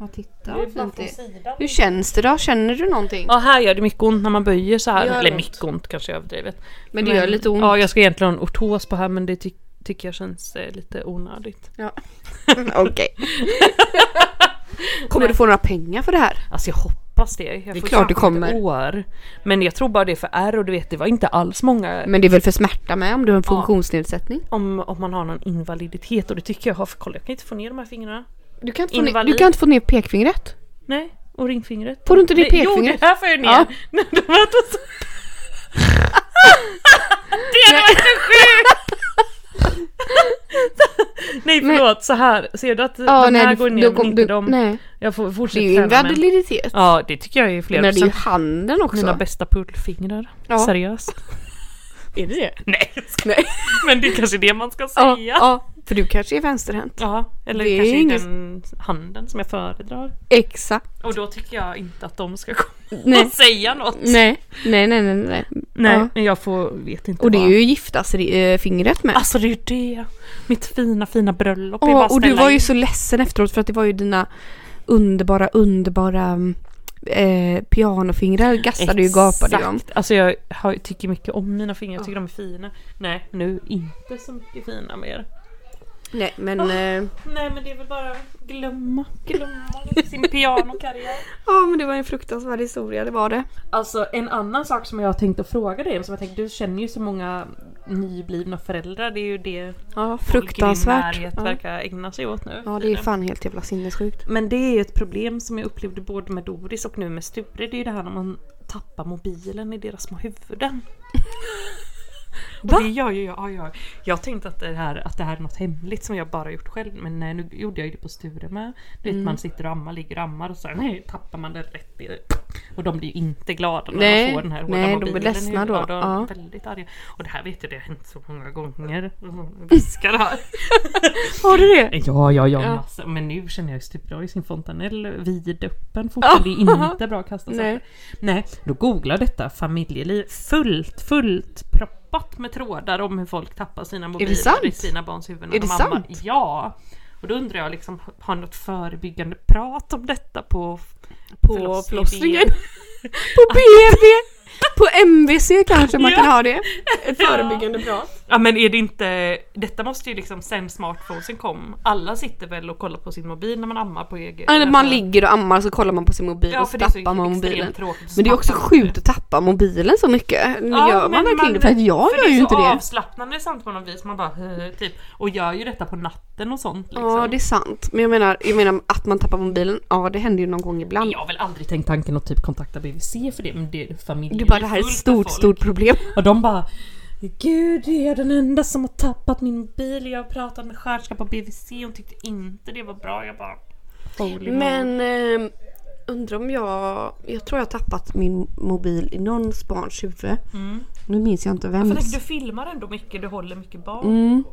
C: Ja, titta vad fint det är. Hur känns det då? Känner du någonting?
B: Ja, här gör det mycket ont när man böjer så här.
C: Gör
B: Eller
C: ont.
B: mycket ont kanske är överdrivet.
C: Men det gör lite ont.
B: Ja, jag ska egentligen ha en ortos på här men det ty- tycker jag känns eh, lite onödigt.
C: Ja. Okej. Kommer du få några pengar för det här?
B: Alltså jag hoppas det. Jag det
C: är klart det kommer.
B: År. Men jag tror bara det är för R och du vet det var inte alls många
C: Men det är väl för smärta med om du har en funktionsnedsättning?
B: om, om man har någon invaliditet och det tycker jag har för kolla jag kan inte få ner de här fingrarna.
C: Du kan inte få, ner,
B: Invalid.
C: du kan inte få ner pekfingret.
B: Nej, och ringfingret.
C: Får du inte ner
B: Nej, Jo,
C: pekfingret?
B: det här får jag ner.
C: Ja.
B: Nej, de här två- det hade varit så sjukt! nej förlåt, så här. Ser du att
C: Ja,
B: den
C: nej,
B: här
C: du-
B: går ner
C: du
B: men
C: kom-
B: inte
C: du-
B: de?
C: nej.
B: Jag får
C: Det är
B: fortsätta
C: ju
B: Typ träna men...
C: invaliditet.
B: Ja det tycker jag är flera
C: Men det är ju
B: procent.
C: handen också.
B: Mina bästa pullfingrar.
C: Ja.
B: Seriöst. är det det? Nej, jag skojar. men det är kanske det man ska
C: ja,
B: säga.
C: ja, för du kanske är vänsterhänt.
B: Ja, eller
C: Det är
B: kanske
C: inget-
B: den handen som jag föredrar.
C: Exakt.
B: Och då tycker jag inte att de ska komma
C: Nej.
B: och säga något.
C: Nej, nej, nej, nej. nej.
B: Nej,
C: Ja.
B: men jag får, vet inte
C: Och det är
B: vad.
C: ju giftasfingret eh, med.
B: Alltså det är ju Ah, det! Mitt fina, fina bröllop är bara
C: Åh, och du
B: ställa
C: var
B: in.
C: ju så ledsen efteråt för att det var ju dina underbara, underbara mm, eh, pianofingrar gassade ju gapade ju om.
B: Alltså jag har, tycker mycket om mina fingrar, jag tycker de är fina. Nej, nu inte så mycket fina mer.
C: Nej men... eh,
B: Nej men det är väl bara glömma, glömma sin pianokarriär.
C: Ja men det var en fruktansvärd historia, det var det.
B: Alltså en annan sak som jag har tänkt att fråga dig, som jag tänkte, du känner ju så många nyblivna föräldrar, det är ju det
C: Ja,
B: folk i din
C: fruktansvärt.
B: närhet
C: Ja.
B: verkar ägna sig åt nu.
C: ja det är fan helt jävla sinnessjukt.
B: Men det är ju ett problem som jag upplevde både med Doris och nu med Sture, det är ju det här när man tappar mobilen i deras små huvuden. Och det gör ju jag. Ja, jag. Jag tänkte att det, här, att det här är något hemligt som jag bara gjort själv men nej, nu gjorde jag ju det på Sture med. Du vet man sitter och ammar, ligger och ammar och så här, nej, tappar man den rätt i Och de blir ju inte glada när
C: Nej,
B: de får den här hårda
C: nej, de blir
B: mobilen. i
C: ledsna
B: huvudet.
C: då.
B: Ja, de är
C: Ja.
B: väldigt arga. Och det här vet jag, det har hänt så många gånger. Jag Viskar här.
C: Har du det?
B: Ja, ja, ja. Massa. Men nu känner jag stupra i sin fontanell vidöppen fortfarande. Det är inte bra att kasta
C: Nej.
B: saker. Nej, då googla detta familjeliv. Fullt, fullt proppat med trådar om hur folk tappar sina mobiler
C: sant?
B: i sina barns huvuden. när
C: Är
B: de
C: det
B: ammar.
C: sant?
B: Ja. Och då undrar jag liksom, har ni något förebyggande prat om detta på Alltså-
C: På förlossningen. på BB! På MVC kanske man
B: Ja.
C: kan ha det. Ett
B: Ja.
C: förebyggande prat.
B: Ja men är det inte, detta måste ju liksom sen smartphonesen kom, alla sitter väl och kollar på sin mobil när man ammar på egen...
C: Eller man
B: Alltså-
C: ligger och ammar så kollar man på sin mobil och så
B: det är så
C: tappar man
B: extremt
C: mobilen.
B: tråkigt att
C: Men det är också
B: tappa
C: sjukt att tappa mobilen så mycket. Ja, gör man
B: men
C: verkligen det? För att jag
B: för
C: gör ju inte
B: Det är så
C: det.
B: avslappnande samt på något vis. Man bara "Hö", typ och gör ju detta på natten och sånt liksom.
C: Ja det är sant. Men jag menar, jag menar att man tappar mobilen, ja det händer ju någon gång ibland.
B: Jag har väl aldrig tänkt tanken att typ kontakta BVC för det, men det är familj.
C: Du bara det här är ett
B: fullt av
C: stort,
B: folk.
C: stort problem.
B: Och de bara Gud, jag är den enda som har tappat min mobil. Jag har pratat med sköterskan på BVC. Hon tyckte inte det var bra. Jag bara... Holy moly.
C: Men eh, undrar om jag... Jag tror jag har tappat min mobil i någons barns huvud. Nu minns jag inte
B: Mm. För
C: vems. Mm.
B: tänk, du filmar ändå mycket. Du håller mycket barn.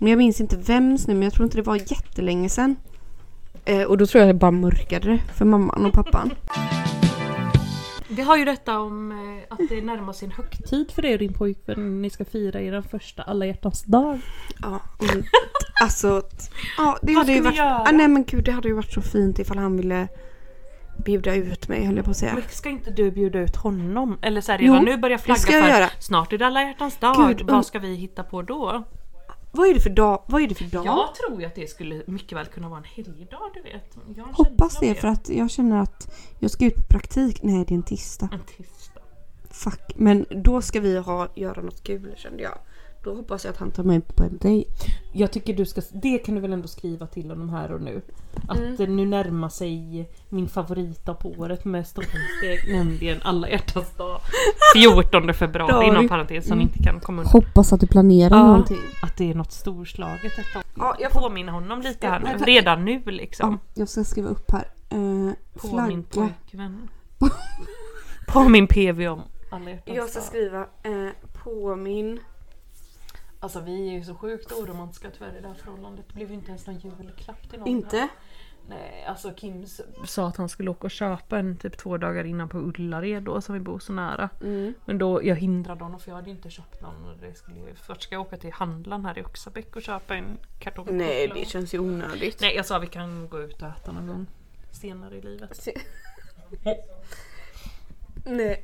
C: Men jag minns inte vems nu men jag tror inte det var jättelänge sedan. Eh, och då tror jag jag bara mörkade det för mamman och pappan.
B: Vi har ju detta om eh, att det närmar sig en högtid för dig och din pojkvän. Ni ska fira er första alla hjärtans dag.
C: Ja, och, alltså, t- ja, det
B: Vad
C: hade ju
B: ska
C: varit,
B: vi göra?
C: ah, nej men gud det hade ju varit så fint ifall han ville bjuda ut mig höll jag på att säga.
B: Men ska inte du bjuda ut honom? Eller så här,
C: Jo,
B: redan nu börja flagga
C: ska jag
B: för
C: göra.
B: snart är det alla hjärtans dag.
C: Gud, um-
B: Vad ska vi hitta på då?
C: Vad är det för dag? Vad är det för dag?
B: Jag tror ju att det skulle mycket väl kunna vara en helgdag du vet. Jag har en
C: Hoppas
B: känsla av
C: det för att jag känner att jag ska ut på praktik. Nej det är en tisdag.
B: En tisdag.
C: Fuck. Men då ska vi ha, göra något kul kände jag. Då hoppas jag att han tar mig på en dejt.
B: Jag tycker du ska, det kan du väl ändå skriva till honom här och nu. Att eh, nu närmar sig min favoritdag på året med stormsteg, nämligen alla hjärtans dag. 14 februari inom parentes som inte kan komma undan.
C: Hoppas att du planerar någonting.
B: Att det är något storslaget detta.
C: Ja, jag får-
B: påminner honom lite här
C: Ja,
B: nu.
C: vänta.
B: Redan nu
C: Ja,
B: liksom.
C: jag ska skriva upp här. Eh,
B: På min
C: flagga.
B: pojkvän. På min PV om alla
C: Jag
B: hjärtans
C: ska
B: dag.
C: skriva eh, påminn.
B: Alltså vi är ju så sjukt oromantiska tyvärr i det här förhållandet. Det blev ju inte ens någon julklapp till någon.
C: Inte?
B: Nej, alltså Kim s- sa att han skulle åka och köpa en typ två dagar innan på Ullared då som vi bor så nära.
C: Mm.
B: Men då jag hindrade honom för jag hade ju inte köpt någon. Och det skulle, först ska jag åka till handlaren här i Oxabäck och köpa en kartong.
C: Nej
B: choklad.
C: det känns ju onödigt.
B: Nej, jag sa vi kan gå ut och äta någon gång senare i livet.
C: Nej.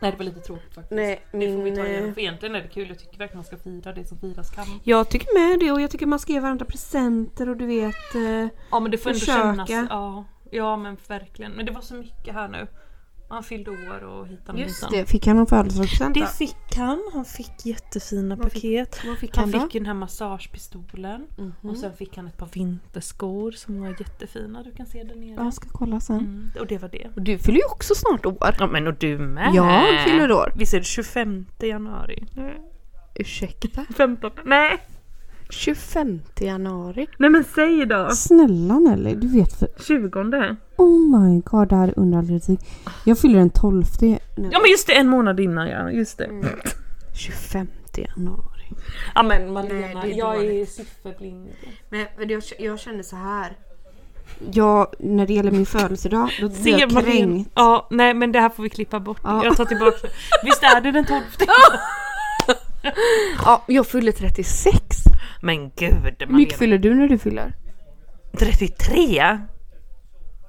B: Nej, det var lite tråkigt faktiskt.
C: Nej,
B: Det får vi ta
C: min,
B: igen.
C: eh,
B: För egentligen är det kul. Jag tycker verkligen man ska fira det som firas kan.
C: Jag tycker med det och jag tycker man ska ge varandra presenter och du vet. Eh,
B: Ja, men det får ändå
C: Försöka.
B: kännas. Ja, ja, men verkligen. Men det var så mycket här nu. Han fyllde år och hitan och
C: just
B: hitan.
C: det, fick jag någon födelsedagspresent då?
B: Det fick han. Han fick jättefina
C: Vad fick-
B: paket. Mm.
C: Vad fick
B: han
C: han, Mm.
B: fick ju den här massagepistolen. Och sen fick han ett par vinterskor som var jättefina. Du kan se där nere.
C: då? Jag ska kolla sen.
B: Mm, och det var det.
C: Och du fyller ju också snart år.
B: Ja men och du med!
C: Jag fyller år.
B: Visst är det 25 januari?
C: Ursäkta?
B: 15? Nej!
C: 25 januari.
B: Nej men säg då!
C: Snälla Nelly, du vet för...
B: 20?
C: Oh my god, det här är under all kritik. Jag fyller den 12 nu.
B: Ja men just det, en månad innan ja. Just det.
C: Mm. 25 januari.
B: Ja men
C: Nej, det är dåligt.
B: sifferblind.
C: Nej, men jag, jag känner så här. Jag, när det gäller min födelsedag, då blir jag
B: Ser man det?
C: kränkt.
B: Ja, nej men det här får vi klippa bort.
C: Ja.
B: Jag tar tillbaka det. Visst är det den 12?
C: Ja, jag fyller 36.
B: Men gud!
C: Hur mycket
B: Malena.
C: fyller du när du fyller?
B: 33?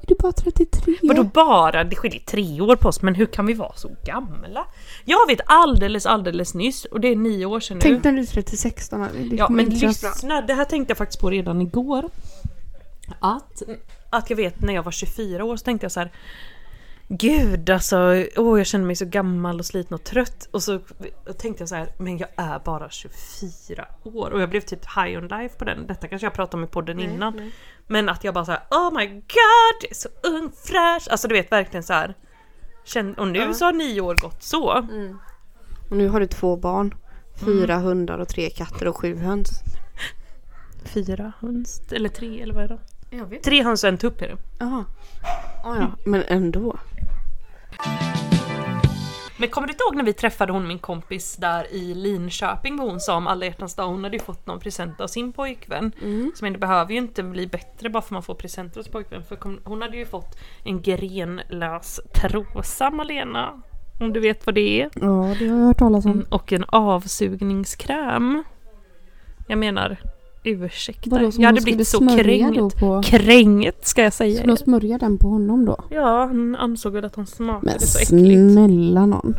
A: Du är bara 33.
B: Vadå bara? Det skiljer tre år på oss, men hur kan vi vara så gamla? Jag vet alldeles, alldeles nyss och det är nio år sedan nu.
A: Tänk när du är 36 då. Marie. Det
B: Ja,
A: kommer
B: men
A: inte kännas-
B: lyssna. Det här tänkte jag faktiskt på redan igår. Att, att jag vet när jag var 24 år så tänkte jag så här. Gud alltså, åh jag känner mig så gammal och sliten och trött. Och så tänkte jag så här, men jag är bara 24 år. Och jag blev typ high on life på den. Detta kanske jag pratade om i podden innan. Men att jag bara så här, oh my god, jag är så ung, fräsch. Alltså du vet verkligen så här. Känn, och nu så har nio år gått så.
C: Och nu har du två barn. Fyra hundar och tre katter och sju höns.
B: Fyra höns, eller tre eller vad är det?
C: Jag vet.
B: Tre höns och en tupp är det.
C: Jaha. Oh, ja. Men ändå.
B: Men kommer du inte ihåg när vi träffade hon min kompis där i Linköping vad hon sa om alla hjärtans dag? Hon hade ju fått någon present av sin pojkvän. Så men det behöver ju inte bli bättre bara för man får presenter hos pojkvän. För kom- hon hade ju fått en grenlös trosa Malena. Om du vet vad det är. Mm.
A: Ja, det har jag hört talas om.
B: Och en avsugningskräm. Jag menar, ursäkta.
A: Vadå, som
B: jag
A: hon
B: hade blivit så
A: skulle smörja då
B: kränkt.
A: på?
B: Kränkt ska jag säga.
A: Skulle de smörja den på honom då?
B: Ja, han ansåg väl att hon
A: Men
B: smakade så äckligt.
A: snälla någon.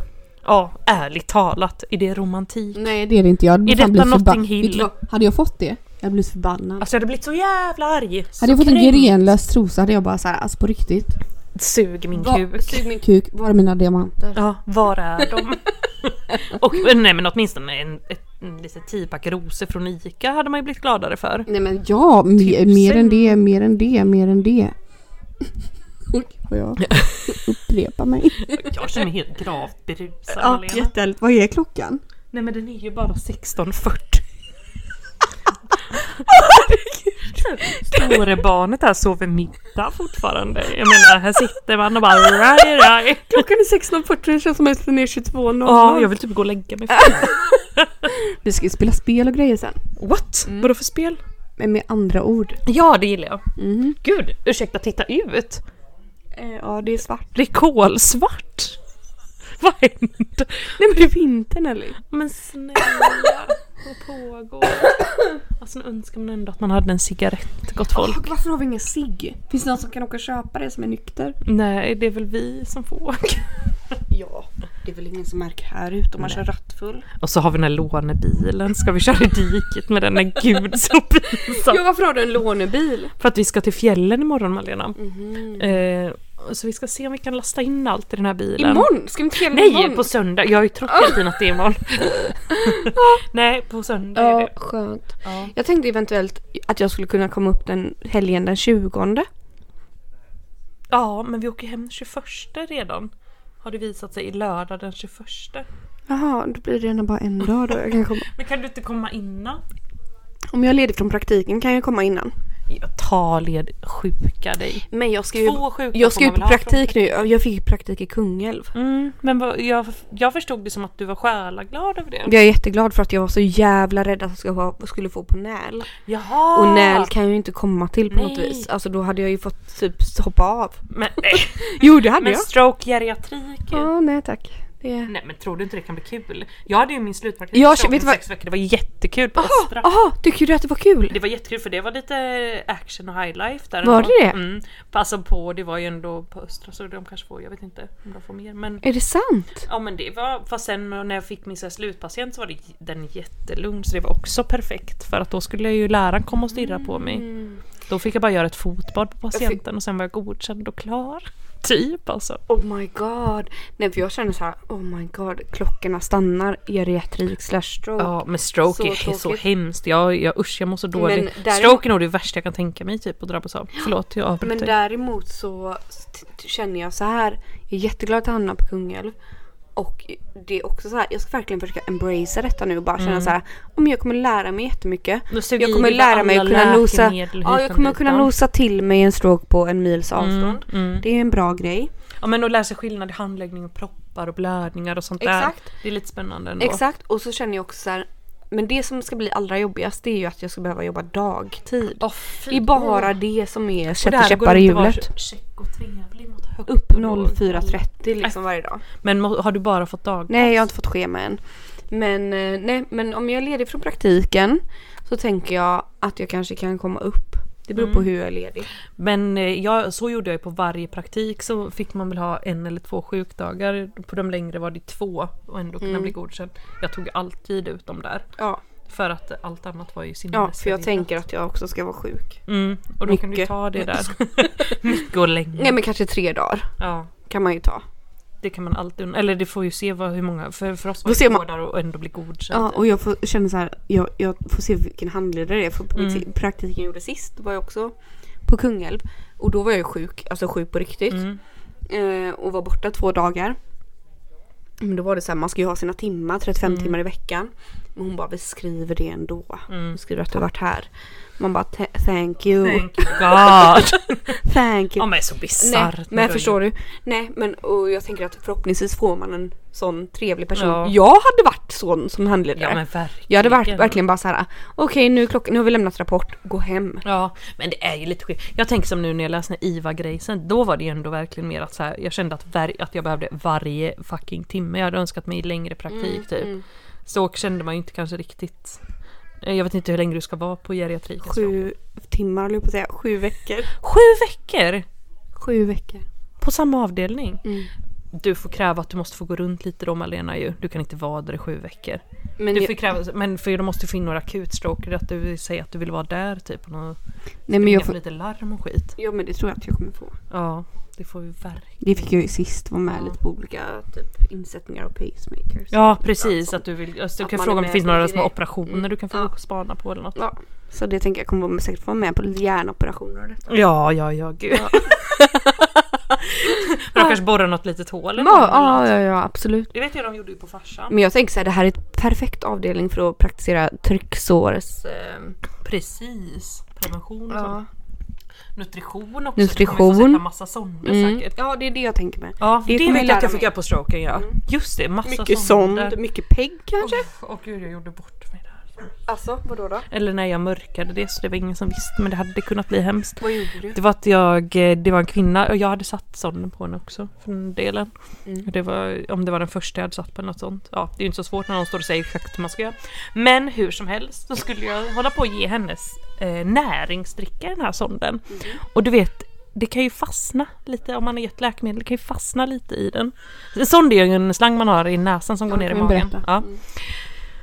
B: Ja, ärligt talat. Är det romantik?
C: Nej,
A: Det är det inte jag.
B: Är
A: Jag hade
B: detta
A: blivit förba-
B: Notting Hill?
A: Vet du vad? Hade jag fått det? Jag hade blivit förbannad.
B: Alltså jag hade blivit så jävla arg. Så
A: hade jag fått en
B: kränkt.
A: grenlös trosa hade jag bara såhär, alltså på riktigt.
B: Sug min
A: Va-
B: kuk.
A: Sug min kuk, var är mina diamanter?
B: Ja, var är de? Och nej men åtminstone en, ett, en litet tiopack rosor från Ica hade man ju blivit gladare för.
A: Nej men ja, me-
B: Tusen.
A: mer än det, mer än det, mer än det. Oj, Får jag upprepa mig?
B: Jag känner mig helt gravt berusad
A: Ja,
B: Malena.
A: jätteärligt. Vad är klockan?
B: Nej men den är ju bara 16.40. Store barnet här sover middag fortfarande. Jag menar här sitter man och bara raj raj.
C: Klockan är 16.40 det känns som att den är 22.00.
B: Ja, jag vill typ gå och lägga mig.
C: Vi ska ju spela spel och grejer sen.
B: What? Vadå för spel?
C: Men med andra ord.
B: Mm. Ja, det gillar jag.
C: Mm-hmm.
B: Gud, ursäkta, titta ut!
C: Eh, ja, det är svart.
B: Det är kolsvart! Vad händer?
C: Nej men det är vintern Ellie.
B: Men snälla, vad pågår? Alltså nu önskar man ändå att man hade en cigarett, gott folk.
C: Varför har vi ingen cigg? Finns det någon som kan åka och köpa det som är nykter?
B: Nej, det är väl vi som får åka.
C: Ja, det är väl ingen som märker här ute om man kör rattfull.
B: Och så har vi den här lånebilen. Ska vi köra i diket med den? Nej gud så pinsamt.
C: Ja, varför har du en lånebil?
B: För att vi ska till fjällen imorgon Malena. Eh, så vi ska se om vi kan lasta in allt i den här bilen.
C: Imorgon? Ska vi inte fjällen
B: Nej,
C: imorgon?
B: på söndag. Jag har ju trott hela tiden att det är imorgon. Nej, på söndag är
C: Ja,
B: det.
C: skönt.
B: Ja.
C: Jag tänkte eventuellt att jag skulle kunna komma upp den helgen den 20.
B: Ja, men vi åker hem den 21 redan. Har det visat sig i lördag den 21.
C: Jaha, då blir det ändå bara en dag då jag kan komma.
B: Men kan du inte komma innan?
C: Om jag är ledig från praktiken kan jag komma innan.
B: Ta led sjuka dig.
C: Men jag ska ju,
B: Två sjuka
C: jag ska
B: får
C: ju
B: man
C: på
B: väl ha
C: praktik nu. Jag fick ju praktik i Kungälv.
B: Mm, men vad, jag, jag förstod det som att du var själaglad över det.
C: Jag är jätteglad för att jag var så jävla rädd att jag skulle få- skulle få på NÄL.
B: Jaha!
C: Och NÄL kan jag ju inte komma till på något
B: Nej.
C: vis. Alltså då hade jag ju fått typ hoppa av.
B: Men, eh,
C: Jo det hade
B: men
C: jag.
B: stroke geriatrik.
C: Ja, nej tack. Det...
B: Nej men tror du inte det kan bli kul? Jag hade ju min slutpraktik
C: Jag
B: jag,
C: vet
B: vet
C: vad-
B: sex veckor, det var jättekul på Östra.
C: Jaha, aha, tycker du att det var kul?
B: Det var jättekul för det var lite action och highlife där
C: Var
B: ändå.
C: det det?
B: Mm. Alltså på, det var ju ändå på Östra så de kanske får, jag vet inte om de får mer men
C: Är det sant?
B: Ja men det var, fast sen när jag fick min så här slutpatient så var det, den jättelugn så det var också perfekt för att då skulle jag ju läraren komma och stirra på mig. Då fick jag bara göra ett fotbad på patienten och sen var Mm. jag godkänd och klar. Typ alltså.
C: Oh my god. Nej för jag känner så här, oh my god, klockorna stannar geriatrik slash stroke.
B: Ja men stroke
C: Så
B: är he- så
C: tråkigt.
B: hemskt. Jag, jag, usch jag mår så dåligt.
C: Men där-
B: Stroke är nog det värsta jag kan tänka mig typ att drabbas av. Förlåt jag
C: Men
B: avbryter.
C: däremot så t- t- känner jag så här. Jag är jätteglad att jag hamnade på Kungälv. Och det är också så här, jag ska verkligen försöka embracea detta nu och bara
B: Mm.
C: känna så här. Om jag kommer lära mig jättemycket.
B: Nu suger
C: Jag kommer
B: i dig
C: lära mig att
B: alla
C: kunna nosa,
B: läkemedel
C: ja,
B: hit
C: jag
B: och
C: kommer
B: dit,
C: kunna
B: va?
C: nosa till mig en stroke på en mils avstånd.
B: mm.
C: Det är en bra grej.
B: Ja men att lära sig skillnad i handläggning och proppar och blödningar och sånt där.
C: Exakt.
B: Det är lite spännande ändå.
C: Exakt, och så känner jag också så här. Men det som ska bli allra jobbigast det är ju att jag ska behöva jobba dagtid.
B: Åh, fy.
C: det är bara det som är
B: Och det
C: sätter
B: här
C: käppar
B: går
C: i
B: inte att vara
C: hjulet.
B: check och trevlig mot högt
C: Upp
B: och Äh. lågt.
C: 04.30 liksom varje dag.
B: Men må- har du bara fått dag?
C: Nej, jag har inte fått schema än. Men, eh, nej, men om jag är ledig från praktiken så tänker jag att jag kanske kan komma upp. Det beror på hur jag är ledig.
B: Men eh, jag, så gjorde jag ju på varje praktik så fick man väl ha en eller två sjukdagar. På de längre var det två och ändå
C: Mm.
B: kunna bli godkänd. Jag tog alltid ut dem där.
C: Ja,
B: För att allt annat var ju
C: ja för jag
B: sinnesförvirrat.
C: tänker att jag också ska vara sjuk.
B: Mm, och då kan du
C: Mycket.
B: ta det där. Mycket och länge.
C: Nej men kanske tre dagar
B: Ja,
C: kan man ju ta.
B: det kan man alltid undra. Eller det får ju se vad, hur många. För, för oss var
C: Då ser
B: det två
C: man-
B: där och ändå bli godkänd.
C: Ja, och jag får, känner så här, jag, jag får se vilken handledare det är. För på
B: Mm.
C: praktiken jag gjorde sist då var jag också på Kungälv. Och då var jag ju sjuk, alltså sjuk på riktigt.
B: Mm.
C: Eh, och var borta två dagar. Men då var det så här, man ska ju ha sina timmar, 35 timmar i veckan. Men hon bara, vi skriver det ändå.
B: Mm.
C: Vi skriver att du har varit här. Man bara, "Th- thank you,
B: Thank God!
C: thank
B: ja
C: you.
B: men så
C: Nej,
B: bisarrt.
C: men förstår du? Nej men och jag tänker att förhoppningsvis får man en sån trevlig person.
B: Ja.
C: Jag hade varit sån som handledare.
B: Ja men verkligen.
C: Jag hade varit, verkligen bara såhär, okej nu, är klockan- nu har vi lämnat rapport, gå hem.
B: Ja, men det är ju lite skit. Jag tänker som nu när jag läste den här IVA-grejsen, då var det ju ändå verkligen mer att så här, jag kände att, ver- att jag behövde varje fucking timme. Jag hade önskat mig längre praktik
C: Mm,
B: typ. Så kände man ju inte kanske riktigt. Eh, Jag vet inte hur länge du ska vara på geriatrik.
C: Sju timmar höll jag på att säga, sju veckor.
B: Sju veckor!
C: Sju veckor.
B: På samma avdelning.
C: Mm.
B: Du får kräva att du måste få gå runt lite då Malena ju. Du kan inte vara där i sju veckor.
C: Men
B: Du
C: jag,
B: får kräva, men för du måste få in några akutstråkar, att du säger att du vill vara där typ. Och nå-
C: nej men jag
B: ringa på
C: får,
B: lite larm och skit.
C: ja men det tror jag att jag kommer få.
B: Ja, det får vi verkligen.
C: Det fick jag ju sist, vara med lite på olika typ insättningar och pacemakers.
B: Ja precis, att du vill, alltså, du
C: Att
B: kan
C: man
B: fråga
C: är
B: om det
C: med
B: finns
C: i
B: några
C: det. Mm,
B: små operationer du kan få
C: Ja.
B: spana på eller något.
C: Ja, så det tänker jag kommer vara med, säkert vara med på lite hjärnoperationer och detta.
B: Ja, ja, ja gud. de kanske borrar något litet hål eller något.
C: ja, Mm. ja absolut.
B: Det vet jag de gjorde ju på farsan.
C: Men jag tänker såhär, det här är ett perfekt avdelning för att praktisera trycksårs... eh,
B: Precis. Prevention och sånt. Nutrition också.
C: Nutrition.
B: Du kommer ju få sätta massa sonder
C: Mm.
B: säkert.
C: Ja, det är det jag tänker med.
B: Ja, det,
C: Det kommer
B: vet jag att
C: lära
B: jag fick
C: mig.
B: göra på stroken ja. Just det, massa
C: Mycket
B: sonder.
C: sond, mycket PEG kanske?
B: Åh gud, jag gjorde bort mig där.
C: Alltså, vadå då?
B: Eller när jag mörkade det så det var ingen som visste men det hade kunnat bli hemskt.
C: Vad gjorde du?
B: Det var att jag, eh, det var en kvinna och jag hade satt sonden på henne också för den delen.
C: Mm.
B: Och Det var, om det var den första jag hade satt på något sånt. Ja, det är ju inte så svårt när någon står och säger exakt hur man ska göra. Men hur som helst så skulle jag hålla på och ge hennes eh, näringsdricka den här sonden. Och du vet, det kan ju fastna lite om man har gett läkemedel, det kan ju fastna lite i den. En sond är ju en slang man har i näsan som går ner i
A: kan vi
B: magen.
A: berätta.
B: Ja.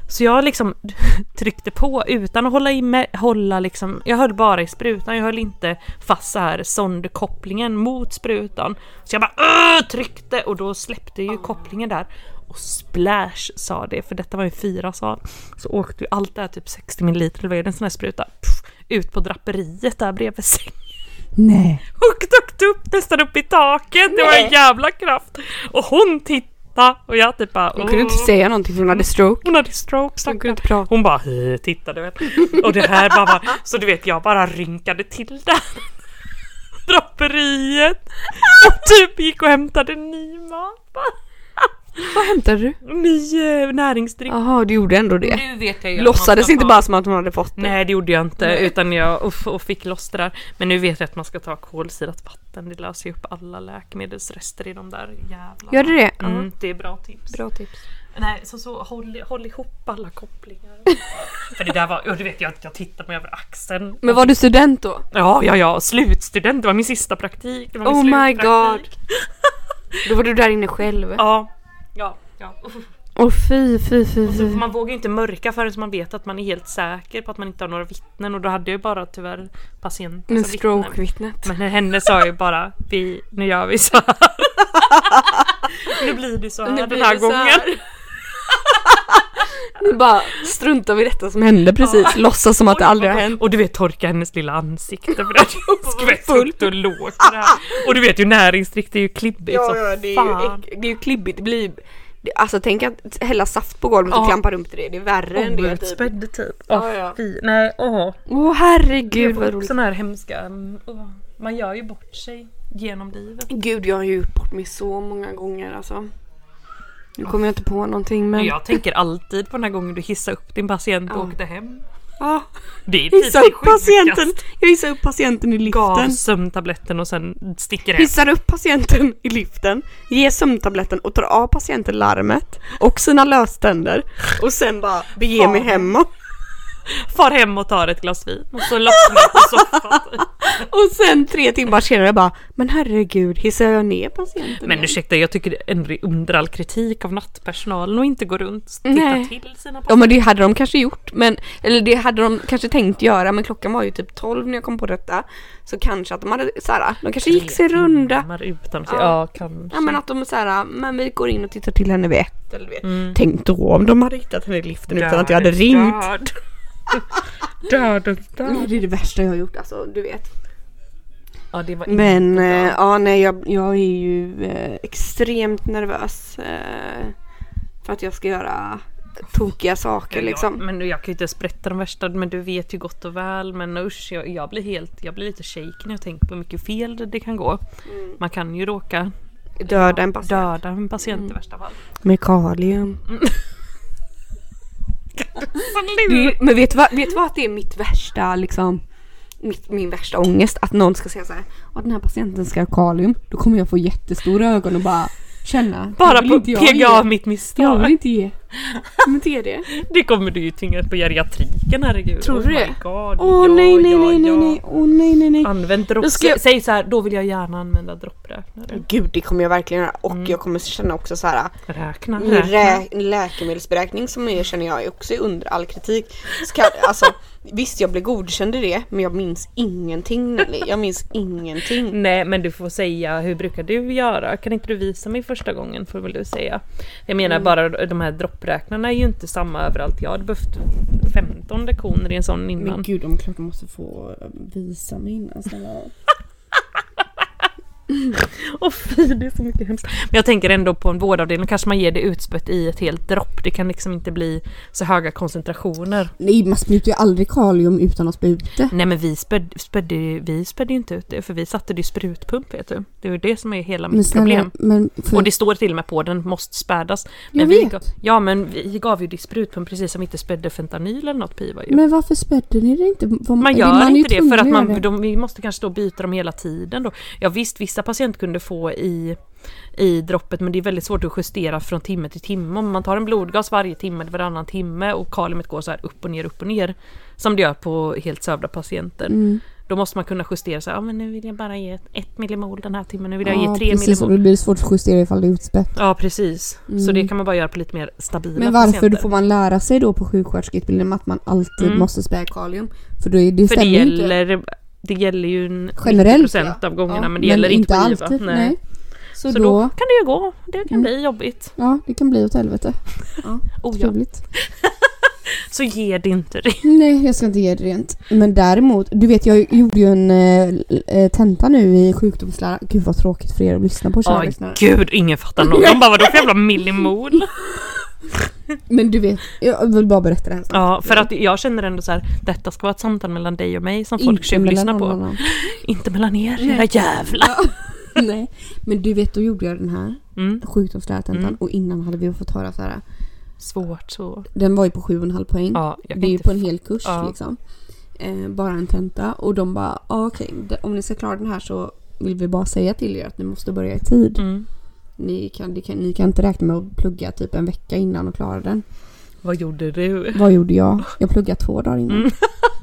B: Så jag liksom tryckte på utan att hålla i med, hålla liksom, jag höll bara i sprutan, jag höll inte fast så här sondkopplingen mot sprutan. Så jag bara "Åh!" tryckte och då släppte ju kopplingen där. Och splash sa det, för detta var ju fyra sal. Så åkte ju allt det här typ 60 milliliter, eller vad är det, en sån här spruta, puff, ut på draperiet där bredvid sängen.
E: Nej.
B: Högt, högt upp, nästan upp i taket. Det var en jävla kraft. Och hon tittade och jag typ bara...
C: Hon kunde inte
B: "Åh."
C: säga någonting för hon hade stroke.
B: Hon hade stroke
C: Hon kunde
B: stackarn.
C: inte prata.
B: Hon bara "Eh", tittade väl. Och det här bara var, Så du vet jag bara rynkade till där. Draperiet. Och typ gick och hämtade ny mat.
C: Vad hämtade du?
B: Ny eh, näringsdryck.
C: Jaha, du gjorde ändå det.
B: Nu vet jag ju att man
C: Låtsades
B: ska
C: inte
B: ta-
C: bara som att hon hade fått det.
B: Nej det gjorde jag inte utan jag uff, och fick loss det där. Men nu vet jag att man ska ta kolsyrat vatten. Det löser ju upp alla läkemedelsrester i de där jävla...
C: Gör det det?
B: Mm, det är bra tips.
C: Bra tips.
B: Nej, så, så håll, håll ihop alla kopplingar. För det där var, och du vet jag, jag tittade mig över axeln.
C: Men var du student då?
B: Ja, ja, ja, slutstudent, det var min sista praktik. Det var min
C: Oh my
B: slutpraktik.
C: Då var du där inne själv.
B: Ja, ja, ja. Uff.
C: Åh fy, fy, fy,
B: Så
C: fy.
B: man vågar ju inte mörka förrän man vet att man är helt säker på att man inte har några vittnen och då hade jag ju bara tyvärr patienten
C: Men
B: som vittnen.
C: stroke-vittnet.
B: Men henne sa jag ju bara, vi, nu gör vi så här. Nu blir det så här den här gången.
C: Nu bara struntar vi i detta som hände precis. Låtsas som att det aldrig har hänt.
B: Och du vet torka hennes lilla ansikte för det skvätt högt och lågt. det här. Och du vet ju näringsdryck det är ju klibbigt som fan.
C: äck- det är ju klibbigt. Det blir... det- Alltså tänk att hälla saft på golvet och klampa runt i det. Det är värre än det. typ.
B: Outspädd typ.
C: Ja, ja.
B: fy. Nej, åh.
C: Åh herregud vad roligt.
B: Sådana här hemska... mm, åh. Man gör ju bort sig genom livet.
C: Gud, jag har ju gjort bort mig så många gånger alltså. Nu kommer jag inte på någonting men...
B: Jag tänker alltid på den här gången du hissade upp din patient och åkte hem.
C: Ja,
B: Det är typ
C: hissa
B: det
C: upp patienten!
B: sjukaste.
C: Jag hissar upp patienten i
B: Gav
C: liften.
B: sömntabletten och sen sticker hem.
C: Hissar upp patienten i liften, ger sömntabletten och tar av patienten larmet och sina löständer och sen bara beger mig hemåt.
B: Far hem och tar ett glas vin och så lossnar på soffan. typ.
C: Och sen tre timmar senare bara, men herregud, hissar jag ner patienten?
B: Men
C: igen?"
B: ursäkta, jag tycker det är ändå under all kritik av nattpersonalen och inte gå runt och titta
C: Nej.
B: till sina
C: Ja men det hade de kanske gjort, men, eller det hade de kanske tänkt göra men klockan var ju typ 12 när jag kom på detta. Så kanske att de hade såhär, de kanske gick sin runda.
B: timmar utan att se.
C: Ja.
B: Ja, kanske.
C: Ja men alltså- att de såhär, men vi går in och tittar till henne vid ett eller
B: Mm.
C: vet. Tänk då om de hade hittat henne i liften utan att jag hade ringt.
B: Död. Dödens död.
C: Det är det värsta jag har gjort alltså, du vet.
B: Ja, det var
C: Men eh, ja, nej, jag, jag är ju eh, extremt nervös eh, för att jag ska göra tokiga saker liksom.
B: Ja, men jag kan ju inte ens berätta de värsta, men du vet ju gott och väl. Men usch, jag, jag blir helt, jag blir lite shaken när jag tänker på hur mycket fel det- det kan gå.
C: Mm.
B: Man kan ju råka
C: Döda en patient.
B: döda en patient i värsta fall.
C: Med kalium.
B: Alltså, Du-
C: Men vet du vad, vet du vad att det är mitt värsta liksom? Mitt, min värsta ångest att någon ska säga så här. "Ja, den här patienten ska ha kalium. Då kommer jag få jättestora ögon och bara känna.
B: Bara
C: "Jag vill
B: på
C: inte jag
B: peka av
C: ge.
B: mitt
C: Jag vill
B: misstag.
C: inte ge. Men inte ge det.
B: Det kommer du ju tvinga på geriatriken herregud.
C: Tror du
B: oh
C: det?
B: my God.
C: Åh
B: ja,
C: nej nej
B: ja,
C: nej nej
B: ja.
C: nej. Åh nej nej nej.
B: Använd dropp.
C: Då ska jag-
B: Säg så här, då vill jag gärna använda droppräknare.
C: Gud det kommer jag verkligen göra
F: Mm.
C: och jag kommer känna också så här.
B: Räkna,
C: Min
B: räkna.
C: rä- läkemedelsberäkning som jag känner jag är också under all kritik. Ska, alltså, visst jag blev godkänd i det men jag minns ingenting Nelly. Jag minns
F: Mm,
C: ingenting.
B: Nej men du får säga, hur brukar du göra? Kan inte du visa mig första gången får väl du säga. Jag menar bara de här droppräknarna är ju inte samma överallt. Jag hade behövt 15 lektioner i en sån innan.
C: gud de klart måste få eh, visa mig innan snälla.
B: Åh fy det är så mycket hemskt. Men jag tänker ändå på en vårdavdelning kanske man ger det utspött i ett helt dropp. Det kan liksom inte bli så höga koncentrationer.
C: Nej man sprutar ju aldrig kalium utan att spruta.
B: Nej men vi spädde, spädde, vi spädde ju inte ut det för vi satte det i sprutpump vet du. Det är ju det som är hela mitt problem.
C: men för,
B: Och det står till och med på den, måste spädas. Men
C: Jag
B: vi
C: vet.
B: gav, ja men vi gav ju disprutpump precis som vi inte spädde fentanyl eller något piva ju.
C: men varför sprätter ni det inte?
B: man gör inte det för att man, de, vi måste kanske då byta dem hela tiden då. Ja visst, vissa patienter kunde få i, i droppet men det är väldigt svårt att justera från timme till timme. Om man tar en blodgas varje timme, eller varannan timme och kaliumet går så här upp och ner, upp och ner. Som det gör på helt sövda patienter.
F: Mm.
B: Då måste man kunna justera så här, ja men nu vill jag bara ge ett- ett millimol den här timmen, nu vill jag ge tre
F: precis, och
B: millimol.
F: då blir det svårt att justera ifall det är utspätt.
B: Ja precis, så det kan man bara göra på lite mer stabila
F: Mm. Men varför
B: patienter.
F: då får man lära sig då på sjuksköterskeutbildningen att man alltid
B: Mm.
F: måste spä kalium? För då är det,
B: För det
F: stämmer ju inte.
B: gäller, det gäller ju en
F: Generellt,
B: 90% av gångerna men det gäller inte på IVA.
F: alltid.
B: Nej.
F: Nej.
B: Så,
F: Så,
B: då...
F: då, Mm.
B: kan det ju gå. Det kan bli jobbigt.
F: ja det kan bli åt helvete.
B: Oh, ja.
F: Trevligt.
B: Så ger det inte det.
F: Nej, jag ska inte ge det rent. Men däremot, du vet jag gjorde ju en eh, l- eh, tenta nu i sjukdomslära. Gud vad tråkigt för er att lyssna på kära
B: Oj,
F: lyssnare.
B: gud, ingen fattar något. De bara vadå för jävla millimol?
F: Men du vet, jag vill bara berätta det här. snabbt.
B: Ja, för att jag känner ändå så här, detta ska vara ett samtal mellan dig och mig som folk
F: Inte mellan
B: tjuvlyssnar
F: någon
B: på.
F: annan.
B: Inte mellan er, era jävlar.
F: Nej, men du vet då gjorde jag den här
B: Mm.
F: sjukdomslärartentan
B: Mm.
F: och innan hade vi fått höra så här.
B: Svårt så.
F: Den var ju på 7,5 poäng.
B: Ja, jag kan
F: det är ju
B: inte
F: på en hel kurs
B: Ja.
F: liksom. Eh, bara en tenta och de bara ah, okej d- om ni ska klara den här så vill vi bara säga till er att ni måste börja i tid.
B: Mm.
F: Ni, kan, ni, kan, ni kan inte räkna med att plugga typ en vecka innan och klara den.
B: Vad gjorde du?
F: Vad gjorde jag? Jag pluggade två dagar innan.
B: Mm.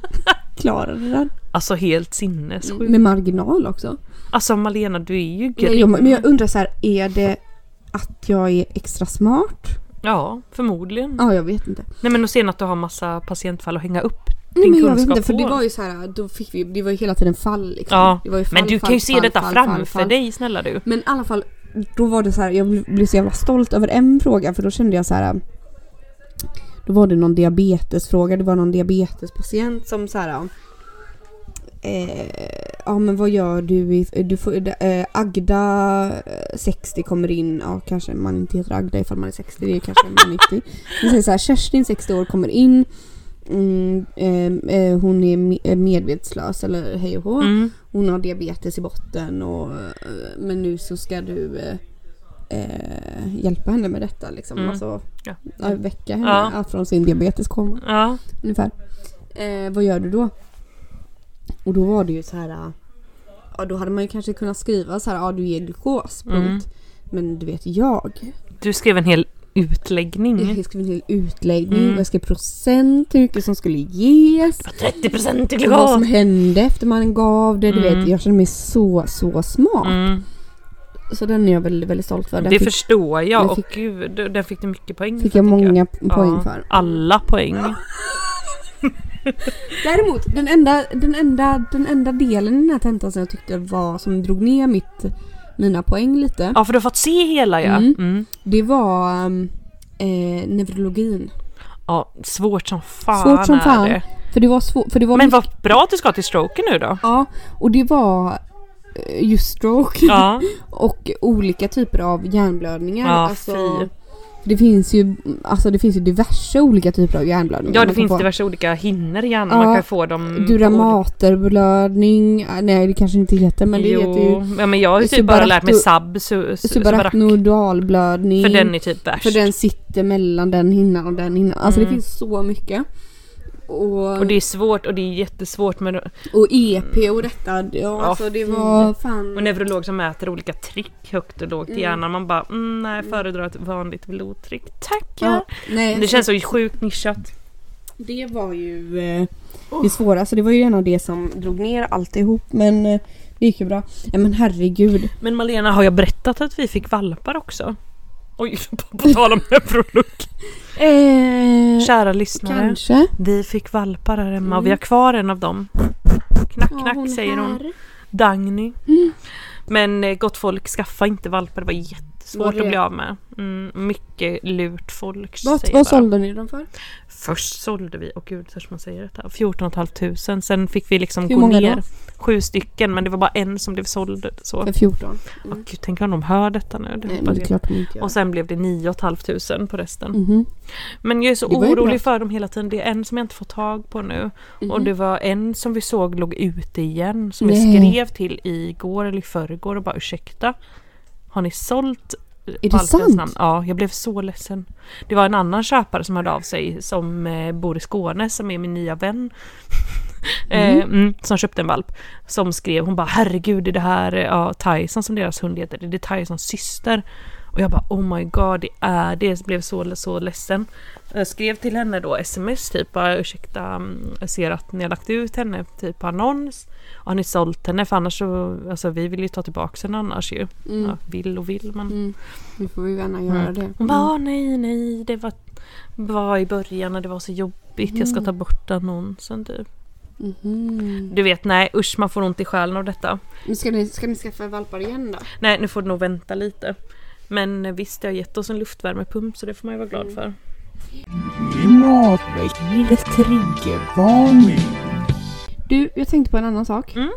F: Klarade den.
B: Alltså helt sinnessjukt.
F: Med marginal också.
B: Alltså Malena, du är ju grym.
F: Nej, jag, men jag undrar så här, är det att jag är extra smart?
B: Ja, förmodligen.
F: Ja, jag vet inte.
B: Nej men och sen att du har massa patientfall att hänga upp
F: Nej,
B: din
F: men jag
B: kunskap
F: vet inte, för
B: på.
F: det var ju så här, då fick vi, det var ju hela tiden fall liksom.
B: Ja,
F: det var ju fall,
B: men du
F: fall,
B: kan ju se
F: fall,
B: detta
F: fall, fall,
B: framför
F: fall.
B: dig, snälla du.
F: Men i alla fall, då var det så här, jag blev- blev så jävla stolt över en fråga för då kände jag så här. Då var det någon diabetesfråga, det var någon diabetespatient som så här. Eh, ja men vad gör du? i- du får, eh, Agda eh, 60 kommer in, ja kanske man inte heter Agda ifall man är 60, det är kanske man är 90. Men säger så här, Kerstin 60 år kommer in, mm, eh, eh, hon är me- eh, medvetslös eller hej och hå
B: Mm.
F: hon har diabetes i botten och eh, men nu så ska du eh, eh, hjälpa henne med detta liksom.
B: Mm.
F: Alltså,
B: Ja.
F: ja, väcka henne
B: Ja.
F: ja, från sin diabeteskoma
B: Ja.
F: ungefär. Eh, vad gör du då? Och då var det ju så här. eh, Ja, då hade man ju kanske kunnat skriva så här. Ja, du ger glukos. Punkt.
B: Mm.
F: Men du vet jag.
B: Du skrev en hel utläggning.
F: Jag skrev en hel utläggning,
B: Mm.
F: och jag skrev procent, hur mycket som skulle ges.
B: 30% i
F: Vad som
B: glas!
F: hände efter man gav det. Du
B: Mm.
F: vet, jag kände mig så, så smart.
B: Mm.
F: Så den är jag väldigt, väldigt stolt för. Den
B: Det
F: fick,
B: förstår
F: den
B: jag. Och
F: fick-
B: gud, den fick du mycket poäng
F: fick
B: för,
F: jag
B: tycker
F: många poäng
B: Ja,
F: för.
B: Alla poäng.
F: Däremot, den enda, den, enda, den enda delen i den här tentan som jag tyckte var, som drog ner mitt, mina poäng lite.
B: Ja, för du har fått se hela ja.
F: Mm.
B: Mm.
F: Det var um, eh, neurologin.
B: Ja, svårt som fan
F: Svårt som
B: är
F: fan.
B: det.
F: För det var svårt, för det var
B: Men
F: mycket-
B: vad bra att du ska till stroken nu då.
F: Ja, och det var eh, just stroke
B: Ja,
F: och olika typer av hjärnblödningar.
B: Ja, fy.
F: alltså, det finns ju alltså det finns ju diverse olika typer av hjärnblödningar.
B: ja
F: Man
B: det
F: kan
B: finns
F: få
B: diverse olika hinnor i hjärnan.
F: Ja,
B: Man kan få dem...
F: Duramaterblödning, eh, nej det kanske inte heter men det
B: jo.
F: heter ju
B: Ja, men jag har ju typ bara lärt mig sub, su,
F: typ
B: su, subarachnoid.
F: subarachnoidalblödning.
B: För den är typ värst.
F: för den sitter mellan den hinnan och den hinnan. Alltså
B: Mm.
F: det finns så mycket. Och,
B: Och det är svårt och det är jättesvårt med
F: och EP och detta, ja, alltså det var fan...
B: Mm. och neurolog som mäter olika tryck högt och lågt i hjärnan. Man bara mm, nej, föredrar ett vanligt blodtryck. Tackar!
F: Ja, nej,
B: Det känns så sjukt nischat.
F: Det var ju eh, det svåra, så det var ju en av det som drog ner alltihop men eh, det gick ju bra. Nej men herregud.
B: Men Malena, har jag berättat att vi fick valpar också? Oj, på, på tal om neurolog.
F: Eh,
B: Kära lyssnare.
F: kanske. Mm.
B: Vi fick valpar här hemma och vi har kvar en av dem. Knack, knack säger hon. Dagny.
F: Mm.
B: Men eh, gott folk, skaffa inte valpar. Det var jättesvårt
F: Var det?
B: att bli av med. Mm, mycket lurt folk.
F: Vad,
B: säger
F: vad
B: bara.
F: sålde ni dem för?
B: Först sålde vi, och gud törs man säga detta, 14 500. Sen fick vi liksom
F: Hur
B: gå
F: många
B: ner
F: då?
B: sju stycken men det var bara en som blev såld. Så.
F: För 14?
B: Åh, gud, tänk om de hör detta nu. Det
F: Nej men
B: hoppas
F: det är
B: jag.
F: klart de inte gör.
B: och sen blev det 9 500 på resten.
F: Mhm.
B: Men jag är så
F: Det var ju bra. Mm.
B: orolig för dem hela tiden. Det är en som jag inte får tag på nu.
F: Mhm.
B: Och det var en som vi såg låg ute igen. Som
F: Nej.
B: vi skrev till igår eller i förrgår och bara ursäkta. Har ni sålt
F: det
B: valpens
F: sant?
B: Ja, jag blev så ledsen. Det var en annan köpare som hörde av sig som eh, bor i Skåne som är min nya vän. Eh, mm, som köpte en valp. Som skrev, hon bara herregud är det här eh, ja, Tyson som deras hund heter? Är det Tysons syster? Och jag bara oh my god det är det. Jag blev så, så ledsen. Jag skrev till henne då sms typ bara ursäkta mm, jag ser att ni har lagt ut henne typ på annons. Och har ni sålt henne? För annars så, alltså vi vill ju ta tillbaka henne annars ju. Ja, vill och vill men.
F: Mm. Nu får vi gärna göra det.
B: Hon bara "Ah, nej nej det var, var i början när det var så jobbigt. Jag ska ta bort annonsen typ.
F: Mhm.
B: Du vet nej usch man får ont i själen av detta.
F: Men ska ni, ska ni skaffa valpar igen då?
B: Nej, nu får du nog vänta lite. Men eh, visst, det har gett oss en luftvärmepump så det får man ju vara glad för.
E: Klimatväckande triggervarning.
F: Du, jag tänkte på en annan sak.
B: Mm.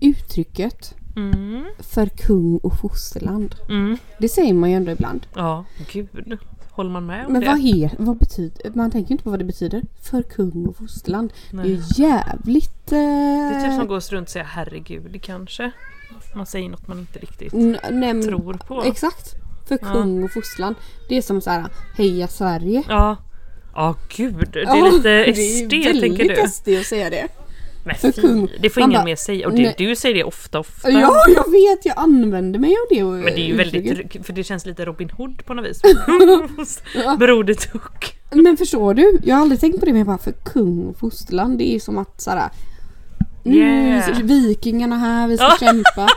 F: Uttrycket
B: Mm.
F: för kung och fosterland.
B: Mm.
F: Det säger man ju ändå ibland.
B: Ja, gud. Håller man med om
F: Men
B: det?
F: vad, he, vad betyder Man tänker ju inte på vad det betyder. För kung och fosterland. Det är ju jävligt... Eh,
B: Det är typ som går runt och säga herregud kanske. Man säger något man inte riktigt
F: n- nej, men-
B: tror på.
F: Exakt. För kung och fosterland. Det är som så här, heja Sverige.
B: Ja. Ja gud, det
F: Ja,
B: är lite
F: det är
B: SD tänker du.
F: väldigt SD att säga det.
B: Men
F: för kung.
B: fy, det får
F: Man
B: ingen
F: bara,
B: mer säga. Och det,
F: nej.
B: du säger det ofta ofta.
F: Ja, jag vet. Jag använder mig av det.
B: Men det är ju
F: uttrycket.
B: väldigt, tr- för det känns lite Robin Hood på något vis. Broder Tuck.
F: Men förstår du? Jag har aldrig tänkt på det men bara för kung och fosterland det är ju som att såhär nu
B: Yeah.
F: vikingarna här, vi ska
B: Ja.
F: kämpa.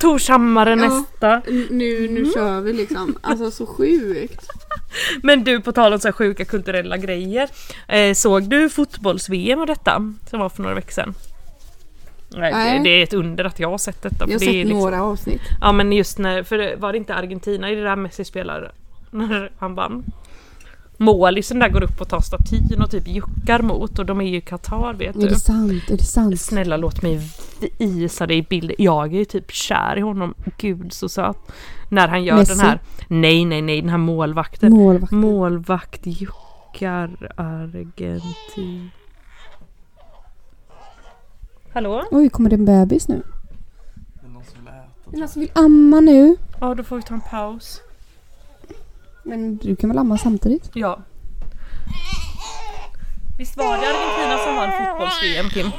B: Torshammare nästa.
F: N- Nu, nu kör vi liksom. Alltså så sjukt.
B: Men du, på tal om så här sjuka kulturella grejer. Eh, såg du fotbolls-VM och detta? Som var för några veckor sedan. Nej,
F: Nej.
B: Det, det är ett under att jag har sett detta. för
F: Jag har
B: det
F: sett
B: är liksom-
F: några avsnitt.
B: Ja men just när, för det- var det inte Argentina i det där Messi spelar? När han vann. Målisen där går upp och tar statyn och typ juckar mot och de är ju i Qatar vet
F: Är
B: du.
F: det sant? Är det sant?
B: Snälla låt mig vi- isa dig i bilden. Jag är ju typ kär i honom. Gud så söt. När han gör
F: Messi?
B: den här. Nej nej nej den här målvakten.
F: Målvakt.
B: Målvakt juckar Argentin. Hallå?
F: Oj, kommer det en bebis nu? Det är någon som vill amma nu.
B: Ja då får vi ta en paus.
F: Men du kan väl amma samtidigt?
B: Ja. Visst var det Argentina som vann fotbolls-VM Kim?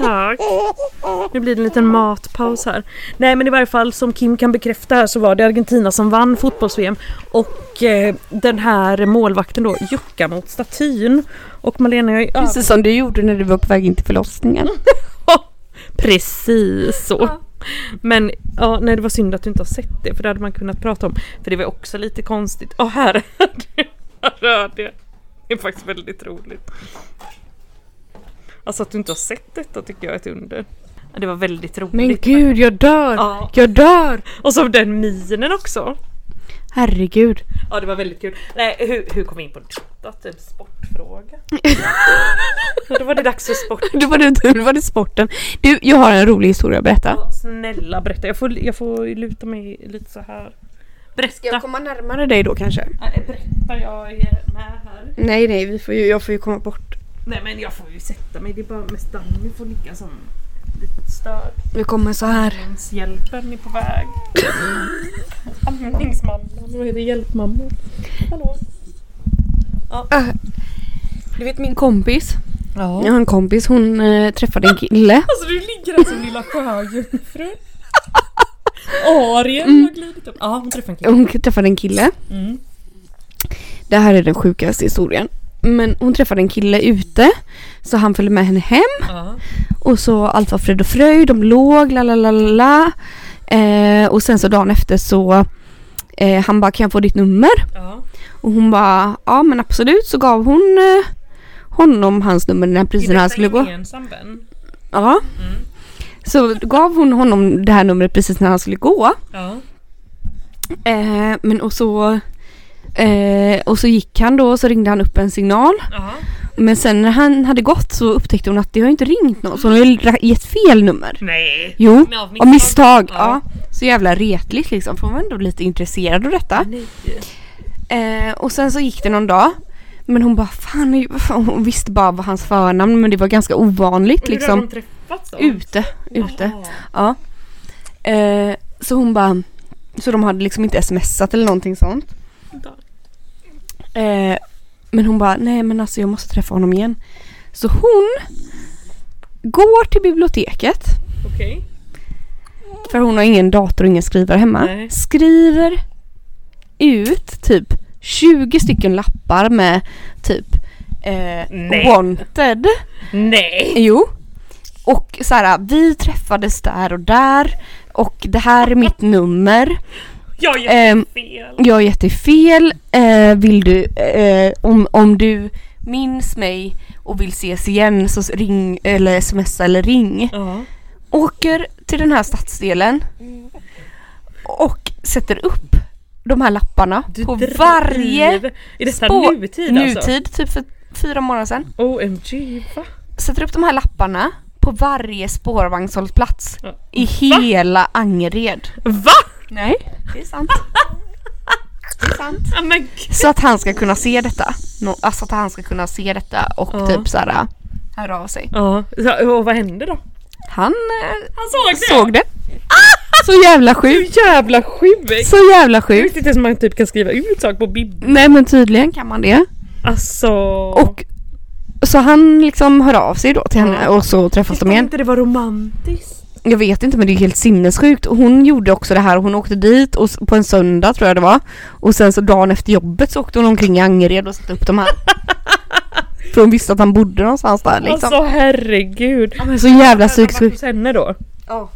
B: Tack. Nu blir det en liten matpaus här. Nej men i varje fall som Kim kan bekräfta här så var det Argentina som vann fotbolls-VM och eh, den här målvakten då juckar mot statyn. Och Malena jag är över-
F: Precis som du gjorde när du var på väg in till förlossningen.
B: Precis så. Men ja, nej, det var synd att du inte har sett det för det hade man kunnat prata om. För det var också lite konstigt. Åh här! Jag rör det. Det är faktiskt väldigt roligt. Alltså att du inte har sett detta tycker jag är ett under. Ja, Det var väldigt roligt.
F: Men gud, jag dör!
B: Ja.
F: Jag dör!
B: Och så den minen också.
F: Herregud.
B: Ja det var väldigt kul. Nej hur, hur kom vi in på detta? Typ sportfråga. Men Då var det dags för sport.
F: Då var det, då var det sporten. Du, jag har en rolig historia att berätta.
B: Ja, snälla berätta. Jag får, jag får luta mig lite så här. Berätta.
F: Ska jag komma närmare dig då kanske?
B: Nej, Berätta, jag är med här.
F: Nej, nej, vi får ju, jag får ju komma bort.
B: Nej men jag får ju sätta mig, det är bara mest Danny får ligga som lite störd.
F: Vi kommer så här.
B: Hjälpen är på väg. Amningsmamman. Vad är det? Hjälpmamman? Hallå?
F: Du vet min kompis? Ja. Jag har en kompis, hon eh, träffade en kille.
B: Alltså du ligger här som lilla sjöjungfrun. Ariel
F: Mm.
B: har glidit upp. Ja hon träffade en kille.
F: Hon träffade en kille.
B: Mm.
F: Det här är den sjukaste historien. Men hon träffade en kille ute. Så han följde med henne hem.
B: Ja.
F: Och så allt var frid och fröjd, de låg, la la la la la. Eh, och sen så dagen efter så eh, han bara kan jag få ditt nummer?
B: Ja.
F: Och hon bara ja men absolut så gav hon eh, honom hans nummer när priserna han skulle gå.
B: gemensam vän? Mm.
F: Ja. Så gav hon honom det här numret precis när han skulle gå.
B: Ja.
F: Eh, men och så eh, och så gick han då och så ringde han upp en signal.
B: Ja.
F: Men sen när han hade gått så upptäckte hon att det har inte ringt någon så hon har ju ra- gett fel nummer.
B: Nej.
F: Jo,
B: Men av
F: av misstag.
B: misstag,
F: Ja. Så jävla retligt liksom, för hon var ändå lite intresserad av detta. Eh, och sen så gick det någon dag. Men hon bara, fan, nu- vad fan, hon visste bara vad hans förnamn men det var ganska ovanligt
B: Hur har de
F: liksom.
B: träffats då?
F: Ute, ute.
B: Jaha.
F: Ja. Eh, så hon bara, så de hade liksom inte smsat eller någonting sånt. Eh, men hon bara, nej men alltså jag måste träffa honom igen. Så hon går till biblioteket
B: Okej.
F: för hon har ingen dator och ingen skrivare hemma.
B: Nej.
F: Skriver ut typ 20 stycken lappar med typ
B: Nej.
F: eh, wanted.
B: Nej.
F: Jo. Och så här, vi träffades där och där och det här är mitt nummer.
B: Jag gör
F: Ehm,
B: fel.
F: jag har gett dig fel. Eh, vill du, eh, om, om du minns mig och vill ses igen så ring eller smsa eller ring.
B: Ja.
F: Åker till den här stadsdelen och sätter upp de här lapparna
B: Du
F: på
B: driver.
F: varje
B: Är detta
F: spår-
B: nutid alltså?
F: nutid, typ för fyra månader sedan.
B: OMG va?
F: Sätter upp de här lapparna på varje spårvagnshållplats
B: Ja.
F: i hela Angered.
B: Va?
F: Nej, det är sant. det är sant.
B: Ja, men gud.
F: Så att han ska kunna se detta. Nå- Alltså att han ska kunna se detta och
B: Ja.
F: typ såhär höra av sig.
B: Ja, så- och vad hände då?
F: Han eh,
B: Han såg det!
F: såg det. Så jävla
B: Du
F: sjukt.
B: jävla sjuk!
F: Så jävla
B: Jag
F: sjukt.
B: visste inte ens om man typ kan skriva ut saker på bib.
F: Nej men tydligen kan man det.
B: Alltså...
F: Och så han liksom hör av sig då till henne
B: Ja.
F: och så träffas de
B: Förstår
F: igen.
B: inte det var romantiskt?
F: Jag vet inte men det är ju helt sinnessjukt. Och Hon gjorde också det här. Hon åkte dit och s- på en söndag tror jag det var. Och sen så dagen efter jobbet så åkte hon omkring i Angered och satte upp de här. För hon visste att han bodde någonstans där liksom.
B: Alltså herregud!
F: men så jävla psykiskt
B: hos henne då?
F: Ja.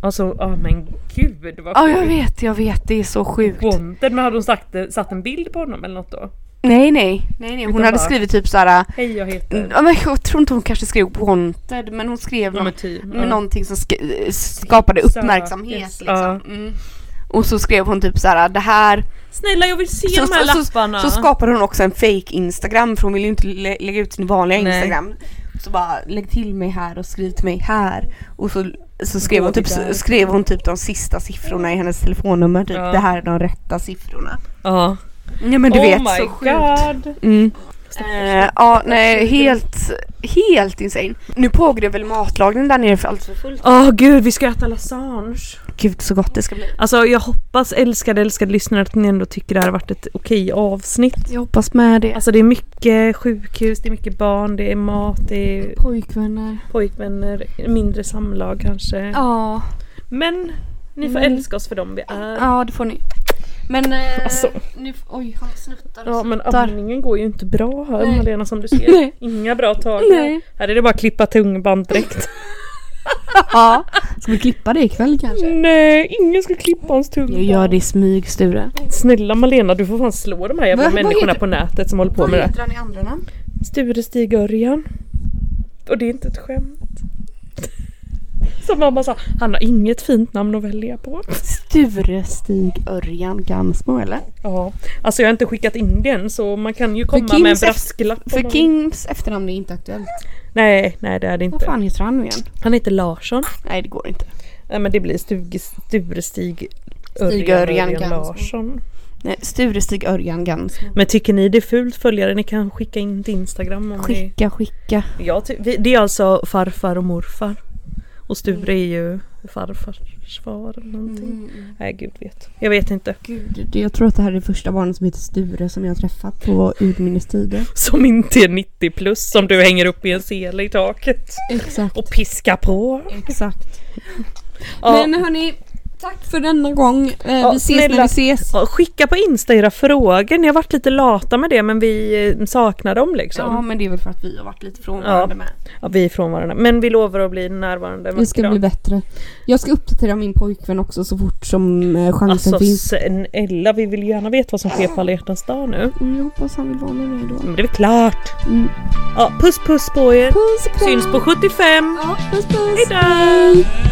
B: Alltså, ja men gud vad
F: Ja jag vet, jag vet. Det är så sjukt.
B: Wanted, men hade hon sagt, det- satt en bild på honom eller något då?
F: Nej nej. nej, nej. Hon
B: Utan
F: hade
B: bara-
F: skrivit typ såhär.
B: Hej jag heter...
F: Ja, men jag tror inte hon kanske skrev wanted men hon skrev
B: Ja
F: något
B: men typ.
F: med någonting som sk- eh, skapade uppmärksamhet
B: Yes,
F: liksom. Mm. Och så skrev hon typ så här: det här.
B: Snälla jag vill se
F: Så,
B: de här
F: så,
B: lapparna!
F: så skapade hon också en fake instagram för hon ville ju inte lä- lägga ut sin vanliga
B: Nej.
F: instagram. Så bara lägg till mig här och skriv till mig här. Och så, så skrev,
B: Gå
F: hon typ,
B: till där.
F: skrev hon typ de sista siffrorna i hennes telefonnummer. Typ
B: Ja.
F: det här är de rätta siffrorna.
B: ja.
F: Ja men du
B: oh
F: vet
B: my
F: så sjukt.
B: god!
F: Mm.
A: Eh, ja, nej, helt, helt insane. Nu pågår det väl matlagning där nere för allt för
F: Eh,
A: fullt.
B: Åh gud, vi ska äta lasagne.
A: Gud så gott det ska bli.
B: Alltså jag hoppas älskade, älskade lyssnare att ni ändå tycker det här har varit ett okej avsnitt.
A: Jag hoppas med det.
B: Alltså det är mycket sjukhus, det är mycket barn, det är mat, det
C: Alltså,
B: är
C: Pojkvänner.
B: pojkvänner, mindre samlag kanske.
C: Ja.
B: Men ni
F: Mm.
B: får älska oss för dem vi är.
C: Ja, det får ni. Men eh,
B: Alltså.
C: nu, oj, han snuttar alltså. och
B: Ja men
C: snuttar.
B: amningen går ju inte bra här
C: Nej.
B: Malena som du ser.
C: Nej.
B: Inga bra tag.
C: Nej.
B: Här är det bara att klippa tungband direkt.
F: Ja. Ska vi klippa det ikväll kanske?
B: Nej, ingen ska klippa hans tungband.
A: det i smyg Sture.
B: Snälla Malena, du får fan slå de här jävla
F: Va? Vad
B: människorna
F: heter-
B: på nätet som håller på
C: Vad
B: med det.
C: heter han i andra namn?
B: Sture Stig Örjan. Och det är inte ett skämt. Som mamma sa, han har inget fint namn att välja på.
A: Sture Stig Örjan Gansmo eller?
B: Ja, alltså jag har inte skickat in den så man kan ju komma med en
F: Kings
B: brasklapp. om
F: För
B: man-
F: Kings efternamn är inte aktuellt.
B: Nej, nej det är det
A: Vad
B: inte.
A: fan heter han nu igen?
B: Han heter Larsson.
A: Nej det går inte.
B: Nej men det blir Stuge, Sture Stig
A: Stig
B: Örjan,
A: Örjan
B: Örjan
A: Gansmo.
B: Larsson.
A: Nej, Sture Stig Örjan Gansmo.
B: Men tycker ni det är fult följare? Ni kan skicka in till Instagram om ni...
A: Skicka, skicka.
B: Ja, ty- vi- det är alltså farfar och morfar. Och Sture är ju farfars far eller
C: Mm,
B: någonting.
A: Mm.
B: Nej, gud vet. Jag vet inte.
F: Gud, jag tror att det här är det första barnet som heter Sture som jag har träffat på urminnes tider.
B: Som inte är 90 plus som du hänger upp i en sele i taket.
F: Exakt.
B: Och piskar på.
F: Exakt.
B: Ja.
F: Men hörni, tack för denna gång. Eh, vi ses
B: snälla.
F: när vi ses.
B: Ja, Skicka på Insta era frågor. Ni har varit lite lata med det men vi eh, saknar dem
C: Ja,
B: liksom.
C: men det är väl för att vi har varit lite frånvarande med.
B: Ja, vi är från varandra. Men vi lovar att bli närvarande
F: Det ska bli bättre. Jag ska uppdatera min pojkvän också så fort som eh, chansen
B: Alltså
F: finns.
B: snälla, vi vill gärna veta vad som sker på alla hjärtans dag nu.
F: Mm, Jag hoppas han vill vara med mig då.
B: Men det är väl klart.
F: Mm.
B: Ja, puss puss på er.
F: Puss och kram!
B: Syns på 75.
F: Ja, puss puss!
B: Hejdå!